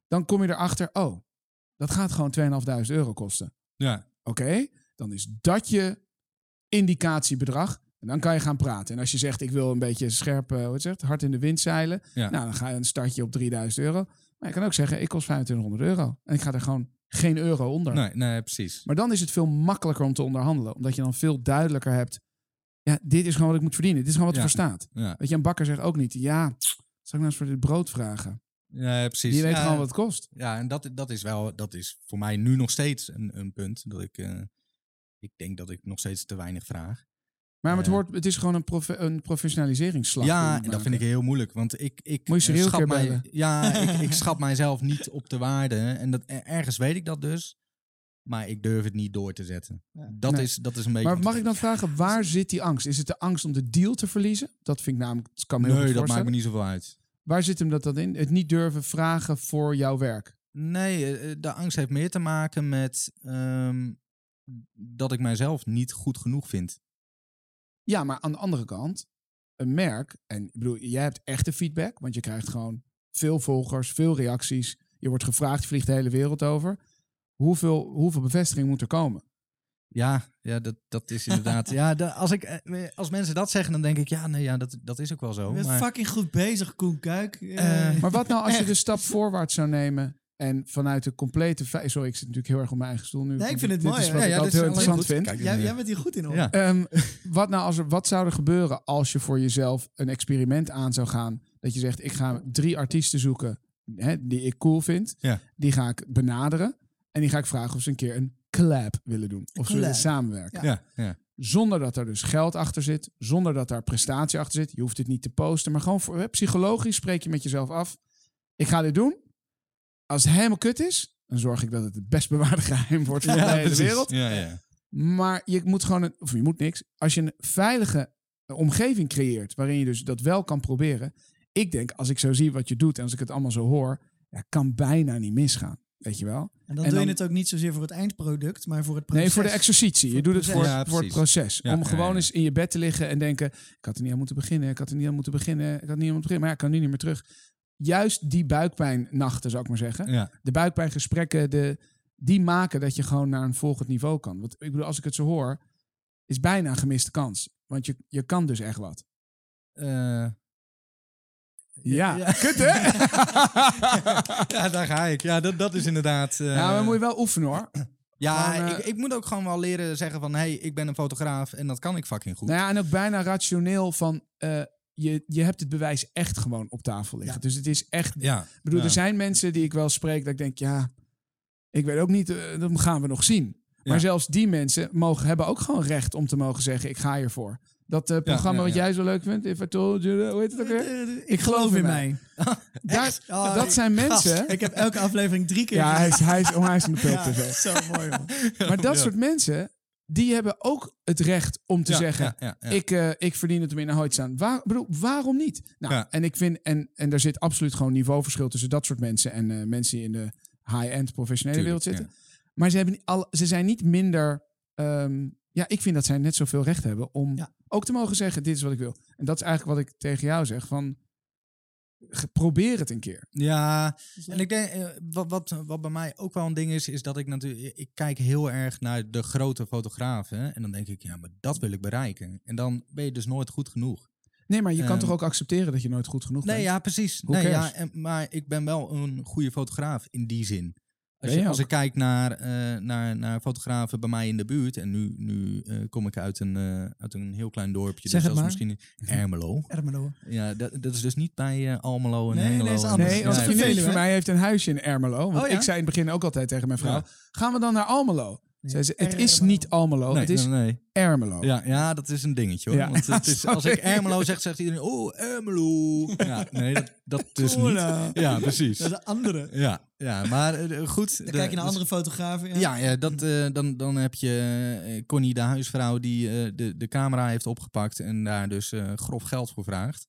dan kom je erachter. Oh, dat gaat gewoon 2.500 euro kosten. Ja. Oké, dan is dat je indicatiebedrag. En dan kan je gaan praten. En als je zegt, ik wil een beetje scherp, eh, hoe het zegt, hard in de wind zeilen. Ja. Nou, dan ga je een startje op 3000 euro. Maar je kan ook zeggen, ik kost 2500 euro. En ik ga er gewoon geen euro onder. Nee, nee, precies. Maar dan is het veel makkelijker om te onderhandelen. Omdat je dan veel duidelijker hebt. Ja, dit is gewoon wat ik moet verdienen. Dit is gewoon wat er Ja. voor staat. Ja, Weet je, een bakker zegt ook niet. Ja, zal ik nou eens voor dit brood vragen? ja precies. Die weet Ja, gewoon wat het kost. ja, en dat, dat is wel, dat is voor mij nu nog steeds een, een punt. Dat ik, eh, ik denk dat ik nog steeds te weinig vraag. Maar het, Ja. hoort, het is gewoon een, profe- een professionaliseringsslag. die je Ja, moet en dat maken. vind ik heel moeilijk. Want ik, ik, Moet je eh, Cyril schat een keer mij, bellen? ja, ik, ik schat mijzelf niet op de waarde. En dat, er- ergens weet ik dat dus. Maar ik durf het niet door te zetten. Ja. Dat, Nee. is, dat is een beetje... Maar mag ik dan vragen, waar zit die angst? Is het de angst om de deal te verliezen? Dat vind ik namelijk, het kan me heel Nee, goed dat maakt voorstellen. me niet zoveel uit. Waar zit hem dat dan in? Het niet durven vragen voor jouw werk. Nee, eh, eh, de angst heeft meer te maken met... ehm, dat ik mijzelf niet goed genoeg vind. Ja, maar aan de andere kant, een merk, en ik bedoel, jij hebt echte feedback, want je krijgt gewoon veel volgers, veel reacties. Je wordt gevraagd, je vliegt de hele wereld over. Hoeveel, hoeveel bevestiging moet er komen? Ja, ja dat, dat is inderdaad... ja, da- als, ik, eh, als mensen dat zeggen, dan denk ik... Ja, nee, ja dat, dat is ook wel zo. Je bent Oh, maar- fucking goed bezig, Koen Kuik. Eh, Eh, Maar wat nou als je de stap voorwaarts zou nemen en vanuit de complete... fe- Sorry, ik zit natuurlijk heel erg op mijn eigen stoel nu. Nee, ik vind het Dit mooi, is hè? wat Ja, ik ja, altijd dit heel is alleen interessant goed. vind. Kijk, jij, nu- jij bent hier goed in, hoor. Ja. Ehm, wat, nou als er, wat zou er gebeuren als je voor jezelf een experiment aan zou gaan? Dat je zegt, ik ga drie artiesten zoeken hè, die ik cool vind. Ja. Die ga ik benaderen. En die ga ik vragen of ze een keer een collab willen doen. Of ze willen Collab. samenwerken. Ja, ja. Zonder dat er dus geld achter zit. Zonder dat daar prestatie achter zit. Je hoeft het niet te posten. Maar gewoon voor, hè, psychologisch spreek je met jezelf af. Ik ga dit doen. Als het helemaal kut is, dan zorg ik dat het het best bewaarde geheim wordt van de hele precies. wereld. Ja, ja. Maar je moet gewoon, een, of je moet niks. Als je een veilige eh, omgeving creëert waarin je dus dat wel kan proberen. Ik denk, als ik zo zie wat je doet en als ik het allemaal zo hoor, ja, kan bijna niet misgaan. Weet je wel? En dan En doe je dan- het ook niet zozeer voor het eindproduct, maar voor het proces. Nee, voor de exercitie. Voor Je het doet het voor, proces. Ja, voor het precies. proces. Ja, Om ja, gewoon ja. eens in je bed te liggen en denken: ik had er niet aan moeten beginnen, ik had er niet aan moeten beginnen, ik had er niet aan moeten beginnen, maar ja, ik kan nu niet meer terug. Juist die buikpijnnachten, zou ik maar zeggen. ja. de buikpijngesprekken, de, die maken dat je gewoon naar een volgend niveau kan. Want ik bedoel, als ik het zo hoor, is bijna een gemiste kans. Want je, je kan dus echt wat. Eh, Ja, ja. kut hè? ja, daar ga ik. Ja, dat, dat is inderdaad... eh, ja, maar Nou, moet je wel oefenen hoor. ja, gewoon, eh, ik, ik moet ook gewoon wel leren zeggen van... hé, hey, ik ben een fotograaf en dat kan ik fucking goed. Nou ja, en ook bijna rationeel van, eh, je, je hebt het bewijs echt gewoon op tafel liggen. Ja. Dus het is echt, ik Ja. bedoel, ja. er zijn mensen die ik wel spreek dat ik denk, ja, ik weet ook niet, eh, dat gaan we nog zien. Maar Ja. zelfs die mensen mogen, hebben ook gewoon recht om te mogen zeggen, ik ga hiervoor. Dat eh, programma ja, wat ja. jij zo leuk vindt, If I Told You, eh, hoe heet het ook weer? Eh, eh, Ik, Ik geloof in mij. Daar- Echt? Oh, dat zijn mensen. Ik heb elke aflevering drie keer. Ja, hij gezien. is, hij is onwijs van de pulp Ja, tv. zo mooi. man. Maar dat Ja. soort mensen, die hebben ook het recht om te Ja, zeggen... ja, ja, ja. Ik, eh, ik verdien het om in een hooi te staan. Waar, bedoel, waarom niet? Nou, Ja. en ik vind, en, en er zit absoluut gewoon niveauverschil tussen dat soort mensen en eh, mensen die in de high-end professionele wereld Tuurlijk, zitten. Maar ze, hebben niet al, ze zijn niet minder. ehm, ja, ik vind dat zij net zoveel recht hebben om Ja. ook te mogen zeggen: dit is wat ik wil. En dat is eigenlijk wat ik tegen jou zeg: van ge- probeer het een keer. ja, En ik denk, eh, wat, wat, wat bij mij ook wel een ding is, is dat ik natuurlijk, ik kijk heel erg naar de grote fotografen. En dan denk ik, ja, maar dat wil ik bereiken. En dan ben je dus nooit goed genoeg. Nee, maar je kan Ehm, toch ook accepteren dat je nooit goed genoeg Nee, bent? ja, precies. Who Nee, ja, cares? en, maar ik ben wel een goede fotograaf in die zin. Als, Ben je, je als ook. ik kijk naar, eh, naar, naar fotografen bij mij in de buurt. En nu, nu eh, kom ik uit een, eh, uit een heel klein dorpje. Zeg dus het dat is misschien Ermelo. Ermelo. Ja, dat, dat is dus niet bij eh, Almelo en Nee, nee, Hengelo. is en- anders. Nee, want Ja, een ja. vriendin Vervelend, van hè? mij heeft een huisje in Ermelo. Want Oh, ja? ik zei in het begin ook altijd tegen mijn vrouw... Ja. gaan we dan naar Almelo? Zei ze, het Er- is Ermelo. niet Almelo, Nee, het is nee. Ermelo. Oh. Ja, ja, dat is een dingetje hoor. Ja. Want het is, Ah, als ik Sorry. Ermelo zeg, zegt iedereen, oh, Ermelo. Ja, nee, dat, dat dus niet. Ola. Ja, precies. Dat is een andere. Ja, ja maar eh, goed. Dan kijk je naar andere fotografen. Ja. Ja, ja dat, eh, dan, dan heb je eh, Connie, de huisvrouw, die eh, de, de camera heeft opgepakt en daar dus eh, grof geld voor vraagt.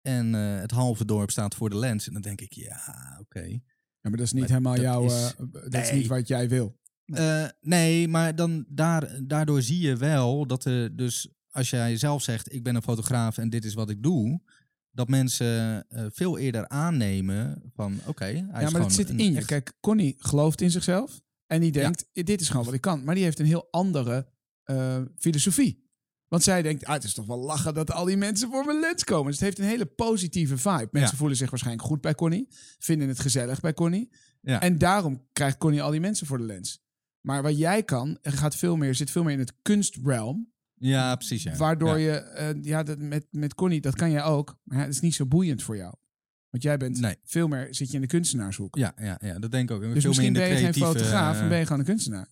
En eh, het halve dorp staat voor de lens. En dan denk ik, ja, oké. Ja, maar dat is niet Maar helemaal dat jouw... is- eh, dat is Nee. niet wat jij wil. Eh, nee, maar dan daar, daardoor zie je wel dat er dus als jij zelf zegt ik ben een fotograaf en dit is wat ik doe, dat mensen eh, veel eerder aannemen van oké, hij is ja, maar gewoon dat zit een in je. echt- Kijk, Connie gelooft in zichzelf. En die denkt, dit is gewoon wat ik kan. Maar die heeft een heel andere eh, filosofie. Want zij denkt, ah, het is toch wel lachen dat al die mensen voor mijn lens komen. Dus het heeft een hele positieve vibe. Mensen Ja. voelen zich waarschijnlijk goed bij Connie. Vinden het gezellig bij Connie. Ja. En daarom krijgt Connie al die mensen voor de lens. Maar wat jij kan, er gaat veel meer, zit veel meer in het kunstrealm. Ja, precies. Ja. Waardoor je, Ja. eh, ja, dat met, met Connie, dat kan jij ook. Maar ja, het is niet zo boeiend voor jou. Want jij bent Nee. veel meer, zit je in de kunstenaarshoek. Ja, ja, ja, dat denk ik ook. En Dus veel misschien meer ben in je de geen creatieve, fotograaf, eh, maar ben je gewoon een kunstenaar.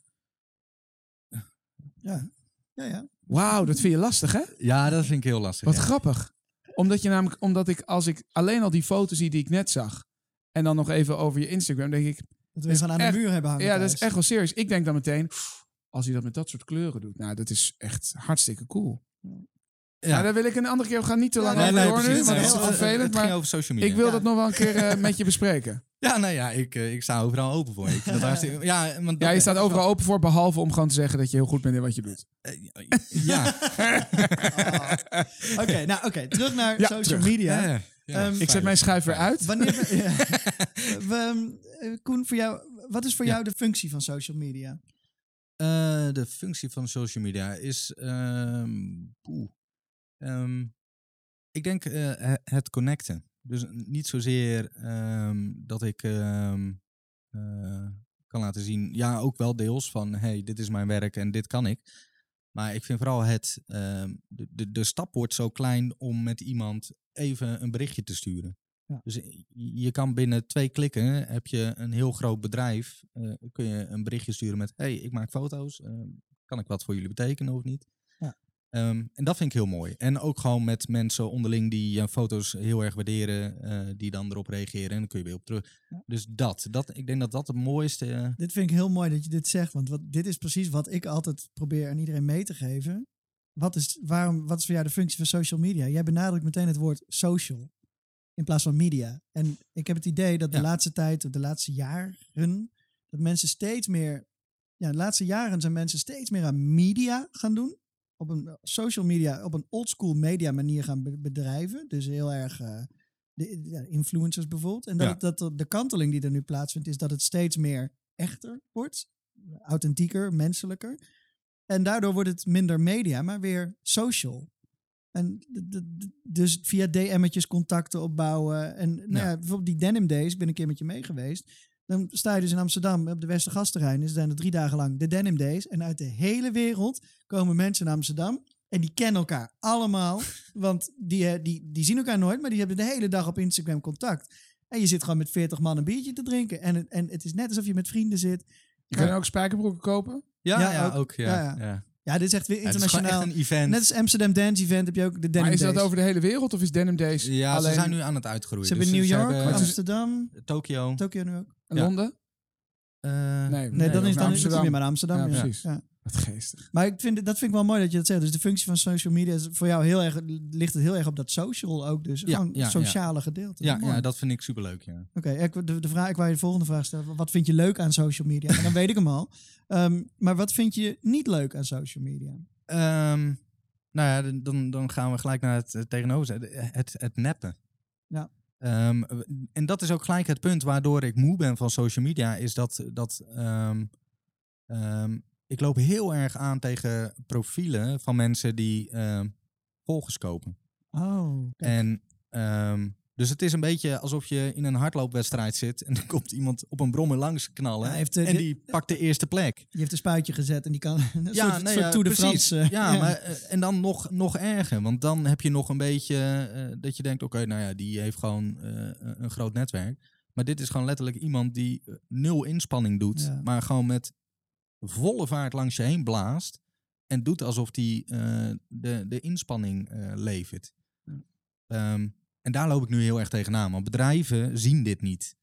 Ja. Ja, ja. Wauw, dat vind je lastig, hè? Ja, dat vind ik heel lastig. Wat ja. grappig. Omdat je namelijk, omdat ik als ik alleen al die foto's zie die ik net zag. En dan nog even over je Instagram, denk ik. Dat Dat we is gewoon aan echt- de muur hebben hangen. Ja, dat is thuis. echt wel serieus. Ik denk dan meteen, als hij dat met dat soort kleuren doet. Nou, dat is echt hartstikke cool. Ja, Ja. daar wil ik een andere keer. We gaan niet te Ja, lang nee, over nee, door nu, precies. want dat is Nee, toch het- vervelend. het ging Maar over social media. ik wil Ja. dat nog wel een keer eh, met je bespreken. Ja, nou ja, ik, eh, ik sta overal open voor. Ik vind dat hartstikke... Ja, eh, want Ja, je staat overal open voor, behalve om gewoon te zeggen dat je heel goed bent in wat je doet. Eh, Ja. Ah. Oké, nou oké. Terug naar Ja, social terug. media. Ja, ja, Ehm, Ik zet mijn schuif weer uit. Wanneer we, ja. We, ehm, Koen, voor jou, wat is voor Ja. jou de functie van social media? Eh, de functie van social media is. ehm, poeh. Ehm, ik denk eh, he- het connecten. Dus niet zozeer ehm, dat ik ehm, eh, kan laten zien. Ja, ook wel deels van hey, dit is mijn werk en dit kan ik. Maar ik vind vooral het. ehm, de, de, de stap wordt zo klein om met iemand even een berichtje te sturen. Ja. Dus je- je kan binnen twee klikken, heb je een heel groot bedrijf, eh, kun je een berichtje sturen met, hey, ik maak foto's, eh, kan ik wat voor jullie betekenen of niet? Ja. Ehm, en dat vind ik heel mooi. En ook gewoon met mensen onderling die jouw foto's heel erg waarderen, eh, die dan erop reageren en dan kun je weer op terug. Ja. Dus dat, dat, ik denk dat dat het mooiste... eh, Dit vind ik heel mooi dat je dit zegt, want wat, dit is precies wat ik altijd probeer aan iedereen mee te geven. Wat is, waarom, wat is voor jou de functie van social media? Jij benadrukt meteen het woord social in plaats van media. En ik heb het idee dat de Ja. laatste tijd, of de laatste jaren, dat mensen steeds meer, ja, de laatste jaren zijn mensen steeds meer aan media gaan doen. Op een eh, social media, op een oldschool media manier gaan be- bedrijven. Dus heel erg eh, de, ja, influencers bijvoorbeeld. En dat, Ja. het- dat de- de kanteling die er nu plaatsvindt, is dat het steeds meer echter wordt. Authentieker, menselijker. En daardoor wordt het minder media, maar weer social. En d- d- d- dus via DM'tjes contacten opbouwen. En nou ja. Ja. bijvoorbeeld die Denim Days, ik ben een keer met je mee geweest. Dan sta je dus in Amsterdam op de Westergasterrein. En ze zijn er drie dagen lang de Denim Days. En uit de hele wereld komen mensen naar Amsterdam. En die kennen elkaar allemaal. Want die, eh, die, die zien elkaar nooit, maar die hebben de hele dag op Instagram contact. En je zit gewoon met 40 man een biertje te drinken. En het, en het is net alsof je met vrienden zit. Je kan ook spijkerbroeken kopen. ja, ja, ja, ook. ook. Ja, ja, ja. ja. Ja, dit is echt weer het is gewoon internationaal. echt een event. Net als Amsterdam Dance Event heb je ook de Denim maar is dat Days. over de hele wereld of is Denim Days Ja, alleen ze zijn nu aan het uitgroeien. Ze hebben Dus New York, hebben, eh, Amsterdam, Tokio. Tokio nu ook. in ja. Londen? eh, Nee, Nee, dan, ook is, dan is het Amsterdam. niet meer maar Amsterdam. Ja, ja. precies. Ja. Wat geestig. Maar ik vind, dat vind ik wel mooi dat je dat zegt. Dus de functie van social media is voor jou heel erg, ligt het heel erg op dat social ook. Dus Ja, gewoon ja, het ja. sociale gedeelte. ja, Mooi. ja, dat vind ik superleuk, ja. Oké, ik, de, de vraag, ik wou je de volgende vraag stellen. Wat vind je leuk aan social media? En dan weet ik hem al. Ehm, maar wat vind je niet leuk aan social media? Ehm, nou ja, dan- dan, dan gaan we gelijk naar het eh, tegenovergestelde. Het, het neppen. Ja. Ehm, w- en dat is ook gelijk het punt waardoor ik moe ben van social media. Is dat, dat ehm, ehm, ik loop heel erg aan tegen profielen van mensen die ehm, volgers kopen. Oh, En, ehm, dus het is een beetje alsof je in een hardloopwedstrijd zit en er komt iemand op een brommer langs knallen. Hij heeft, eh, en de- die pakt de eerste plek. je hebt een spuitje gezet en die kan een Ja, soort, nee, soort ja, Tour de precies. France. eh, Ja, Maar, eh, en dan nog, nog erger. Want dan heb je nog een beetje eh, dat je denkt, oké, nou ja, die heeft gewoon eh, een groot netwerk. Maar dit is gewoon letterlijk iemand die eh, nul inspanning doet. Ja. Maar gewoon met volle vaart langs je heen blaast. En doet alsof die eh, de, de inspanning eh, levert. Ehm, en daar loop ik nu heel erg tegenaan. Want bedrijven zien dit niet.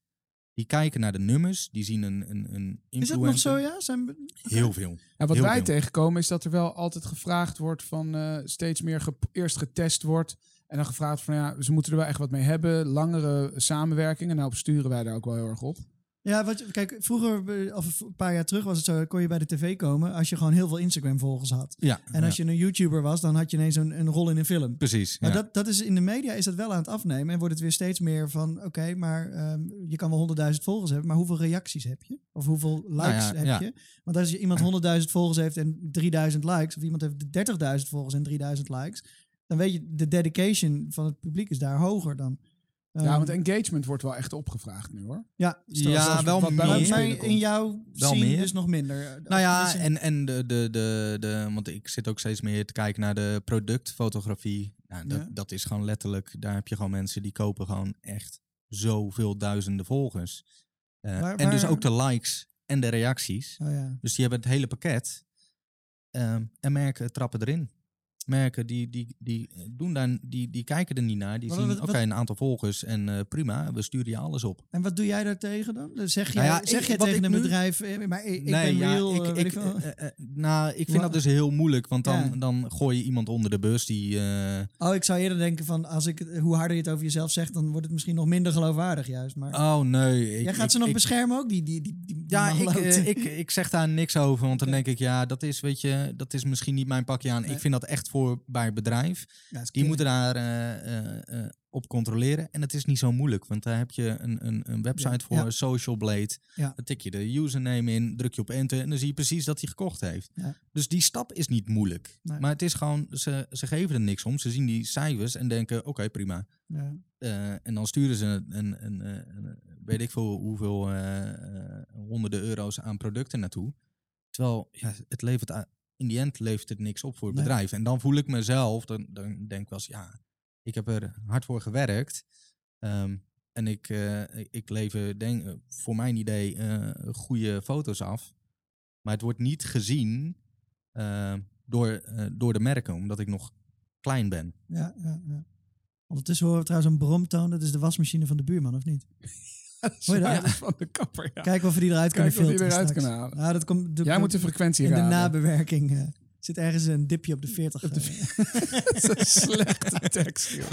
Die kijken naar de nummers. Die zien een, een, een influencer. Is dat nog zo, ja? Zijn, Heel veel. En wat Heel wij veel. tegenkomen is dat er wel altijd gevraagd wordt van eh, steeds meer ge- eerst getest wordt. En dan gevraagd van ja, ze moeten er wel echt wat mee hebben. Langere samenwerkingen. Nou, op sturen wij daar ook wel heel erg op. Ja, wat, kijk, vroeger, eh, of een paar jaar terug was het zo, kon je bij de tv komen als je gewoon heel veel Instagram-volgers had. Ja, En als je een YouTuber was, dan had je ineens een, een rol in een film. Precies. Maar ja. dat, dat is in de media is dat wel aan het afnemen en wordt het weer steeds meer van, oké, maar ehm, je kan wel honderdduizend volgers hebben, maar hoeveel reacties heb je? Of hoeveel likes Nou ja, heb ja. je? Want als je iemand honderdduizend volgers heeft en 3000 likes, of iemand heeft 30.000 volgers en 3000 likes, dan weet je, de dedication van het publiek is daar hoger dan. Ehm, ja, want engagement wordt wel echt opgevraagd nu hoor. ja, Ja, zelfs wel wat bij meer. ons binnenkomt. in jouw Wel zien meer. dus nog minder. Nou ja, Dus- en, en de, de, de, de, want ik zit ook steeds meer te kijken naar de productfotografie. Nou, dat, Ja. dat is gewoon letterlijk, daar heb je gewoon mensen die kopen gewoon echt zoveel duizenden volgers. Eh, Waar- En dus waar- ook de likes en de reacties. Oh ja. Dus die hebben het hele pakket. Ehm, en merken trappen erin. Merken die, die, die, eh, doen daar, die, die kijken er niet naar. Die Wat- zien, wat- oké, wat- een aantal volgers en eh, prima, we sturen je alles op. En wat doe jij daartegen dan? Dan Zeg jij, Nou ja, zeg ik- jij wat tegen ik een nu- bedrijf, eh, maar ik, ik ben ja, real, eh, ik, weet ik, ik veel. eh, eh, nou, ik vind Wa- dat dus heel moeilijk, want dan, Ja. dan gooi je iemand onder de bus die... eh, Oh, ik zou eerder denken van, als ik, het- hoe harder je het over jezelf zegt, dan wordt het misschien nog minder geloofwaardig juist. Maar oh nee. Ik, jij gaat ik- ze nog ik- beschermen ook, die, die, die, die die Ja, ik, maloten? eh, ik, ik zeg daar niks over, want dan denk ik, ja, dat is, weet je, dat is misschien niet mijn pakje aan. Nee. Ik vind dat echt voor bij het bedrijf. Ja, is Die kut. moeten daar eh, eh, eh, op controleren. En het is niet zo moeilijk, want daar heb je een, een, een website Ja. voor, Ja. een Social Blade. Ja. Dan tik je de username in, druk je op enter en dan zie je precies dat hij gekocht heeft. Ja. Dus die stap is niet moeilijk. Nee. Maar het is gewoon, ze, ze geven er niks om. Ze zien die cijfers en denken, oké, prima. Ja. Eh, en dan sturen ze een, een, een, eh, een- weet ik veel hoeveel eh, eh, honderden euro's aan producten naartoe. Terwijl ja, het levert a- in die end levert het niks op voor het Nee. bedrijf. En dan voel ik mezelf, dan, dan denk ik wel eens, ja, ik heb er hard voor gewerkt. Ehm, En ik, eh, ik lever, denk, eh, voor mijn idee, eh, goede foto's af. Maar het wordt niet gezien eh, door, eh, door de merken, omdat ik nog klein ben. Ja, ja, ja. Ondertussen horen we trouwens een bromtoon. Dat is de wasmachine van de buurman, of niet? Hoor je dat? Ja, van de kapper, ja. Kijken of we die eruit Kijken kunnen of die filteren eruit straks. kunnen halen. Nou, dat komt, Jij dat komt moet de frequentie in de raden. nabewerking. eh, zit ergens een dipje op de 40. eh. Dat is een slechte tekst, joh.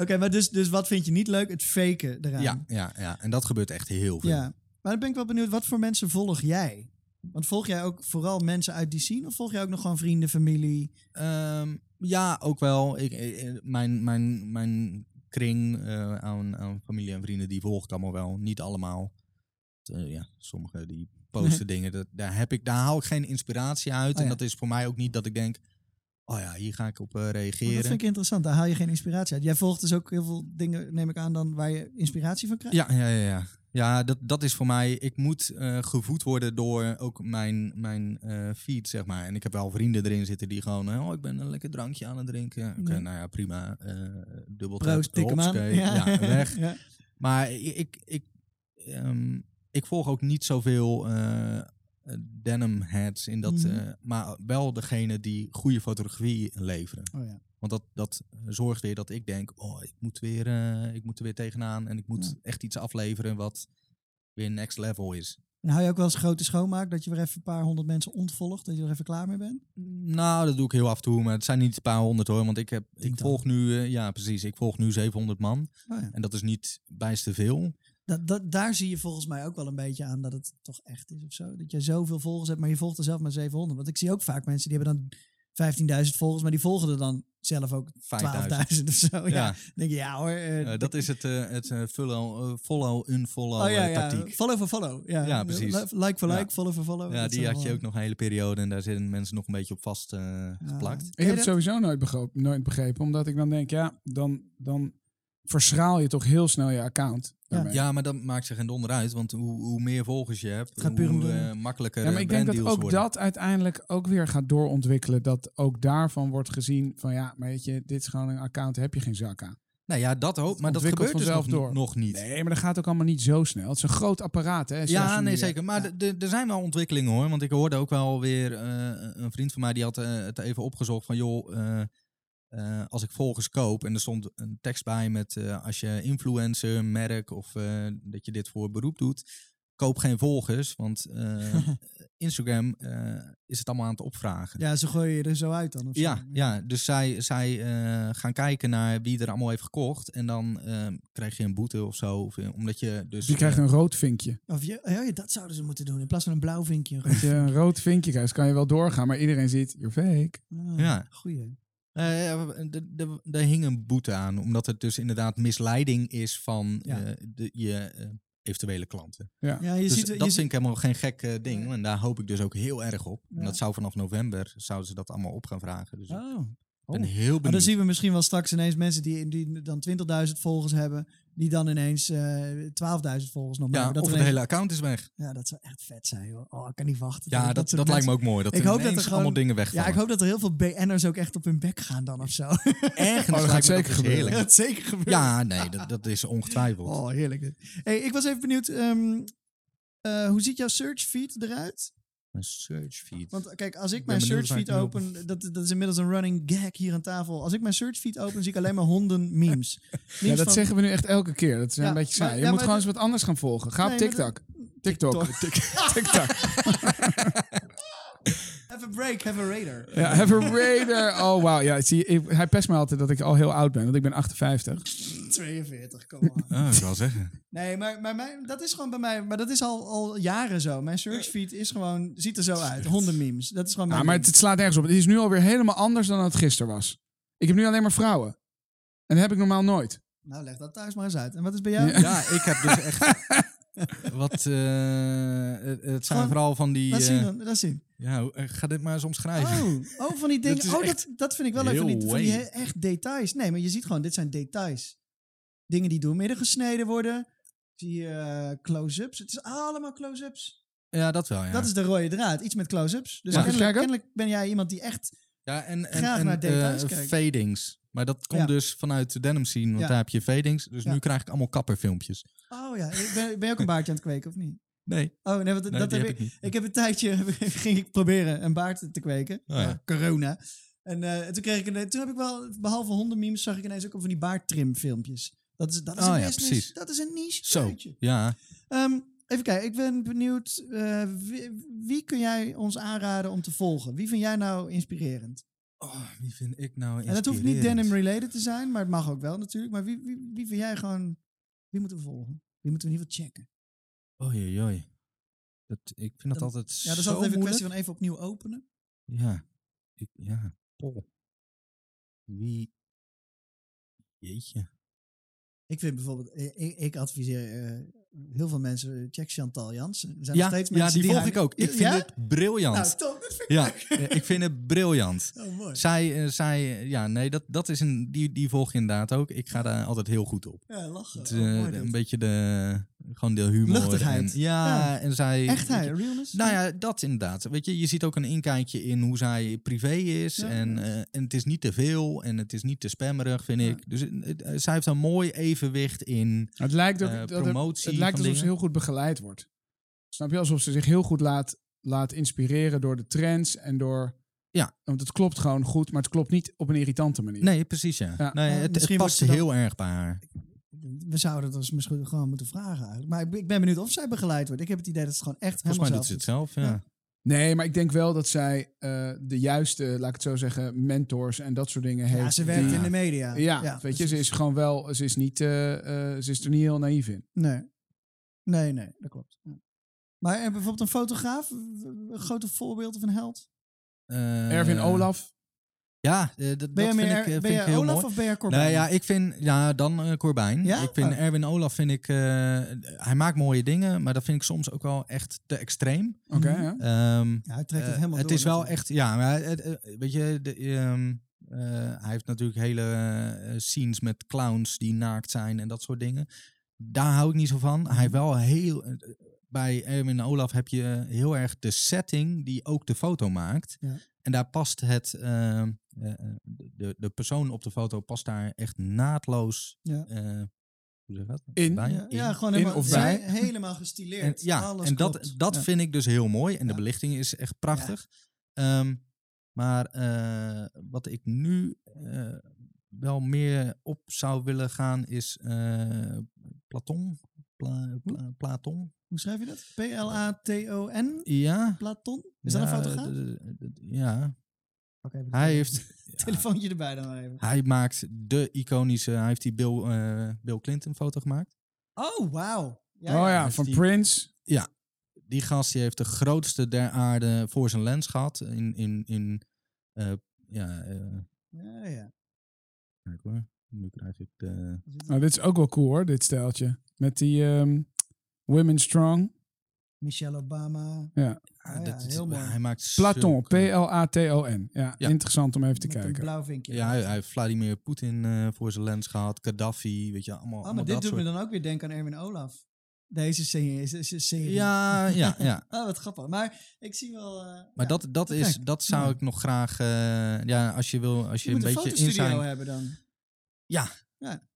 Oké, maar dus, dus wat vind je niet leuk? Het faken eraan. Ja, ja, ja. En dat gebeurt echt heel veel. Ja. Maar dan ben ik wel benieuwd, wat voor mensen volg jij? Want volg jij ook vooral mensen uit die scene? Of volg jij ook nog gewoon vrienden, familie? Ehm, ja, ook wel. Ik, eh, mijn, mijn, mijn kring eh, aan, aan familie en vrienden, die volgt allemaal wel. Niet allemaal. Eh, ja, sommigen die posten dingen. Dat, daar, heb ik, daar haal ik geen inspiratie uit. Oh, en ja. dat is voor mij ook niet dat ik denk... Oh ja, hier ga ik op eh, Want reageren. dat vind ik interessant. Daar haal je geen inspiratie uit. Jij volgt dus ook heel veel dingen, neem ik aan, dan waar je inspiratie van krijgt. Ja, ja, ja. ja. Ja, dat, dat is voor mij. Ik moet eh, gevoed worden door ook mijn, mijn eh, feed, zeg maar. En ik heb wel vrienden erin zitten die gewoon. eh, oh, ik ben een lekker drankje aan het drinken. Oké, Ja. nou ja, prima. eh dubbel Proost, tik hem aan. Ja. weg. Ja. Maar ik, ik, ik, ehm, ik volg ook niet zoveel eh denim heads in dat. Mhm. eh, maar wel degene die goede fotografie leveren. Oh ja. Want dat, dat zorgt weer dat ik denk, oh, ik moet, weer, eh, ik moet er weer tegenaan en ik moet Ja. echt iets afleveren wat weer next level is. En hou je ook wel eens grote schoonmaak, dat je weer even een paar honderd mensen ontvolgt, dat je er even klaar mee bent? Nou, dat doe ik heel af en toe, maar het zijn niet een paar honderd hoor. Want ik, heb, ik Tientallen. volg nu, eh, ja precies, ik volg nu 700 man. Oh ja. En dat is niet bijster veel. Dat, dat, daar zie je volgens mij ook wel een beetje aan dat het toch echt is of zo. Dat je zoveel volgers hebt, maar je volgt er zelf maar 700. Want ik zie ook vaak mensen die hebben dan 15.000 volgers, maar die volgen er dan zelf ook 5000. 12.000 of zo. Ja. Ja, Dan denk je, ja hoor. eh, eh, dat is het, eh, het eh, follow, eh, follow unfollow oh, ja, eh, ja. tactiek. Follow for follow. Ja, Ja, precies. Li- Like for Ja. like, follow for follow. Ja, Dat die zijn had je wel- ook nog een hele periode en daar zitten mensen nog een beetje op vast eh, geplakt. Ken Ik je heb het dat? sowieso nooit begrepen, nooit begrepen, omdat ik dan denk, ja, dan, dan verschraal je toch heel snel je account. daarmee. Ja, maar dat maakt zich geen donder uit, want hoe, hoe meer volgers je hebt, gaat puur om hoe de- eh, makkelijker Ja, maar eh, ik denk dat branddeals ook worden. dat uiteindelijk ook weer gaat doorontwikkelen. Dat ook daarvan wordt gezien van ja, maar weet je, dit is gewoon een account, daar heb je geen zak aan. Nou ja, dat ook, maar dat ontwikkelt gebeurt dus nog, vanzelf door. door. nog niet. Nee, maar dat gaat ook allemaal niet zo snel. Het is een groot apparaat, hè? social Ja, nee, media. zeker. Maar Ja. d- d- er zijn wel ontwikkelingen hoor. Want ik hoorde ook wel weer eh, een vriend van mij die had eh, het even opgezocht van joh, eh, eh, als ik volgers koop en er stond een tekst bij met eh, als je influencer, merk of eh, dat je dit voor beroep doet, koop geen volgers, want eh, Instagram eh, is het allemaal aan het opvragen. Ja, ze gooien je er zo uit dan. Of zo. Ja, ja, dus zij, zij eh, gaan kijken naar wie er allemaal heeft gekocht. En dan eh, krijg je een boete of zo. Of, eh, omdat je dus. Je krijgt eh, een rood vinkje. Of je, oh ja, dat zouden ze moeten doen. In plaats van een blauw vinkje. een rood Als je een rood vinkje krijgt, kan je wel doorgaan, maar iedereen ziet, you're fake. Ah, Ja. Goeie. eh, ja, we- de- de- Daar hing een boete aan. Omdat het dus inderdaad misleiding is van Ja. eh, de, je eh, eventuele klanten. Ja, je dus ziet, dat je vind ziet, ik helemaal geen gek eh, ding. Nee. En daar hoop ik dus ook heel erg op. Ja. En dat zou vanaf november zouden ze dat allemaal op gaan vragen. Dus ik oh. ben heel Maar benieuwd. dan zien we misschien wel straks ineens mensen die, die dan 20.000 volgers hebben, die dan ineens eh 12.000 volgers nog ja, maken. er of het ineens- hele account is weg. ja, dat zou echt vet zijn, joh. Oh, ik kan niet wachten. Ja, dat, dat, soort lijkt mensen- me ook mooi. Dat Ik ik hoop dat hoop er gewoon- allemaal dingen wegvallen. Ja, ik hoop dat er heel veel BN'ers ook echt op hun bek gaan dan of zo. Ergens Oh, dat lijkt gaat me zeker dus gebeuren. heerlijk. dat is zeker gebeurd. Ja, nee, dat, dat is ongetwijfeld. Oh, heerlijk. dit. Hey, ik was even benieuwd, ehm, eh, hoe ziet jouw search feed eruit? Een search feed. Want kijk, als ik, ben mijn benieuwd search waar ik feed nu op- open, dat, dat is inmiddels een running gag hier aan tafel. Als ik mijn search feed open, zie ik alleen maar honden memes. memes Ja, dat van- zeggen we nu echt elke keer. Dat is Ja, een beetje saai. maar- je ja, moet maar gewoon eens wat anders gaan volgen. Ga op Nee, maar TikTok. TikTok. TikTok. Have a break, have a radar. Ja, have a raider. Oh, wauw. Ja, zie, je, ik- hij pest me altijd dat ik al heel oud ben, want ik ben 58. 42, kom maar. Ah, ik wil zeggen. Nee, maar, maar mijn, dat is gewoon bij mij, maar dat is al, al jaren zo. Mijn search feed is gewoon, ziet er zo uit. Hondenmemes. Dat is gewoon Ja, Nou, mijn maar het, ding. het slaat nergens op. Het is nu alweer helemaal anders dan het gisteren was. Ik heb nu alleen maar vrouwen. En dat heb ik normaal nooit. Nou, leg dat thuis maar eens uit. En wat is bij jou? Ja. Ja, ik heb dus echt... Wat, eh, het, het zijn Gewoon- vooral van die... Laat zien eh, dan, laat zien. ja, hoe- eh, ga dit maar eens omschrijven. Oh, oh, van die dingen. Dat is oh, dat, dat vind ik wel leuk. Van die, heel van die way. he- echt details. Nee, maar je ziet gewoon, dit zijn details. Dingen die door midden gesneden worden. Zie je eh, close-ups. Het is allemaal close-ups. Ja, dat wel, ja. Dat is de rode draad. Iets met close-ups. Dus Mag ik kennelijk, kijken? kennelijk ben jij iemand die echt... ja en, en, Graag en, naar details eh, kijken. Fadings. Maar dat komt Ja. dus vanuit de denim scene, want Ja. daar heb je fadings. Dus Ja. nu krijg ik allemaal kapperfilmpjes. Oh ja, ben, ben je ook een baardje aan het kweken of niet? Nee, Oh nee, want nee dat die heb ik, heb ik niet. Ik heb een tijdje ging ik proberen een baard te kweken. Oh ja. Eh, corona. En eh, toen kreeg ik een, toen heb ik wel, behalve hondenmemes, zag ik ineens ook al van die baardtrim filmpjes. Dat is, dat is Oh een ja, business. precies. Dat is een niche. Zo, dingetje. ja. Ehm, even kijken, ik ben benieuwd. eh, wie, wie kun jij ons aanraden om te volgen? Wie vind jij nou inspirerend? Oh, wie vind ik nou En dat hoeft niet inspirerend? denim related te zijn, maar het mag ook wel natuurlijk. Maar wie, wie, wie vind jij gewoon, wie moeten we volgen? Wie moeten we in ieder geval checken? Oei, oei, oei. Dat, ik vind dat Dan- altijd Ja, dat is zo altijd even een moeilijk. kwestie e- van even opnieuw openen. Ja. Ik, ja. Oh. Wie... Jeetje. Ik vind bijvoorbeeld, eh, ik, ik adviseer eh, heel veel mensen, eh, check Chantal Jansen. Er zijn nog steeds mensen ja, die, die volg haar- ik ook. Ik vind ja? het briljant. Nou, top. Dat vind ik ja, eh, ik vind het briljant. zo mooi. Zij, eh, zij eh, ja, nee, dat, dat is een, die, die volg je inderdaad ook. Ik ga daar altijd heel goed op. Ja, lachen. Het, Oh, eh, mooi dit. een beetje de, gewoon de humor. Luchtigheid. En, ja, Ja. en zij... Echtheid, realness. Nou ja, dat inderdaad. Weet je, je ziet ook een inkijkje in hoe zij privé is. Ja, en, ja. eh, en het is niet te veel en het is niet te spammerig, vind Ja. ik. Dus eh, eh, zij heeft een mooi evenwicht in Het lijkt ook eh, dat er- promotie. Het lijkt van alsof ze dingen. heel goed begeleid wordt. Snap je? Alsof ze zich heel goed laat, laat inspireren door de trends en door... Ja. Want het klopt gewoon goed, maar het klopt niet op een irritante manier. Nee, precies ja. Ja. Nee, Ja, het, het misschien past wordt ze heel erg bij haar. We zouden dat eens misschien gewoon moeten vragen eigenlijk. Maar ik, ik ben benieuwd of zij begeleid wordt. Ik heb het idee dat ze gewoon echt Volgens mij helemaal doet ze het zelf, ja. Ja. Nee, maar ik denk wel dat zij eh, de juiste, laat ik het zo zeggen, mentors en dat soort dingen heeft. Ja, ze werkt die- in de media. Ja, weet je, ze is gewoon wel, ze is, niet, eh, eh, ze is er niet heel naïef in. Nee. Nee, nee, dat klopt. Ja. Maar eh, bijvoorbeeld een fotograaf, een grote voorbeeld of een held? Eh, Erwin Olaf, Ja, eh, Ben dat, dat je vind meer ik, eh, vind ben ik je heel Olaf mooi. of ben je Corbijn? Nou ja, ik vind, ja, dan eh, Corbijn. Ja? Ik vind Oh. Erwin Olaf, vind ik, eh, hij maakt mooie dingen, maar dat vind ik soms ook wel echt te extreem. oké, ja. Ehm, Mhm. Ja, hij trekt het Eh, helemaal door. is wel natuurlijk. echt, ja, maar het, eh, weet je, de, ehm, eh, hij heeft natuurlijk hele eh, scenes met clowns die naakt zijn en dat soort dingen. Daar hou ik niet zo van. Hij Mhm. heeft wel heel, eh, bij Erwin en Olaf heb je eh, heel erg de setting die ook de foto maakt. Ja. En daar past het, ehm, eh, eh, de, de persoon op de foto past daar echt naadloos Ja. eh, hoe zeg je dat? In, bij. Ja, in. ja, gewoon in helemaal, of zij- bij. helemaal En, gestileerd. ja, Alles en dat, klopt. dat Ja. vind ik dus heel mooi. En de Ja. belichting is echt prachtig. Ehm, maar eh, wat ik nu eh, wel meer op zou willen gaan is eh, Platon. Hm? Pla- Pla- Platon? Hoe schrijf je dat? P-L-A-T-O-N? Ja. Platon? Is dat Ja, een fotograaf? d- d- d- Ja. Oké, even Hij een heeft... ja, Telefoontje erbij dan maar even. hij maakt de iconische... Hij heeft die Bill, eh, Bill Clinton foto gemaakt. Oh, wauw. oh ja, dus van die- Prince. Die gast die heeft de grootste der aarde voor zijn lens gehad. In... in, in eh, ja, eh, ja, ja. Kijk hoor. Nu krijg ik de... Nou, dit is ook wel cool hoor, dit stijltje. Met die ehm, Women Strong. Michelle Obama. Oh, Ah, ja, dat is- heel mooi. Hij maakt Platon, zulke- P-L-a-t-o-n. Ja, Ja. interessant om even te met een kijken. blauw vinkje. Oh, Ja, hij, hij heeft Vladimir Poetin eh, voor zijn lens gehad. Gaddafi, weet je, allemaal, oh, allemaal maar dit dat doet me soort... dan ook weer denken aan Erwin Olaf. Deze serie. Deze serie. Ja, ja, ja. Oh, wat grappig. Maar ik zie wel... eh, Maar ja. dat, dat, is, Kijk, dat zou mooi. ik nog graag... eh, ja, als je wil, als je, je moet een een beetje in fotostudio zijn... hebben dan.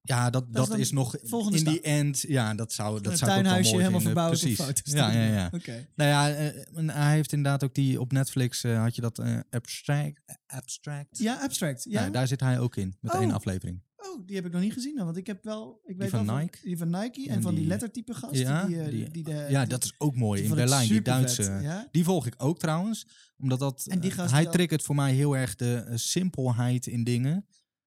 Ja, dat, dat, dan is nog de volgende in die stap. end. Ja, dat zou, dat een zou ik ook wel tuinhuisje mooi helemaal vinden. verbouwd Precies. op fotostudio. ja, ja, ja. Oké. Nou ja, eh, en hij heeft inderdaad ook die... Op Netflix eh, had je dat eh, abstract. abstract. Ja, abstract. Ja? Nou, daar zit hij ook in, met Oh. één aflevering. Oh, die heb ik nog niet gezien dan. Want ik heb wel... Ik weet van wel Nike. Die van Nike en, En van die, die- lettertype gast. Ja, die, eh, die- die de, Ja, die- dat is ook mooi. die In vond ik Berlijn, die supervet, Duitse... Ja? Die volg ik ook trouwens. Omdat dat, En die eh, gast hij die al- triggert voor mij heel erg de eh, simpelheid in dingen.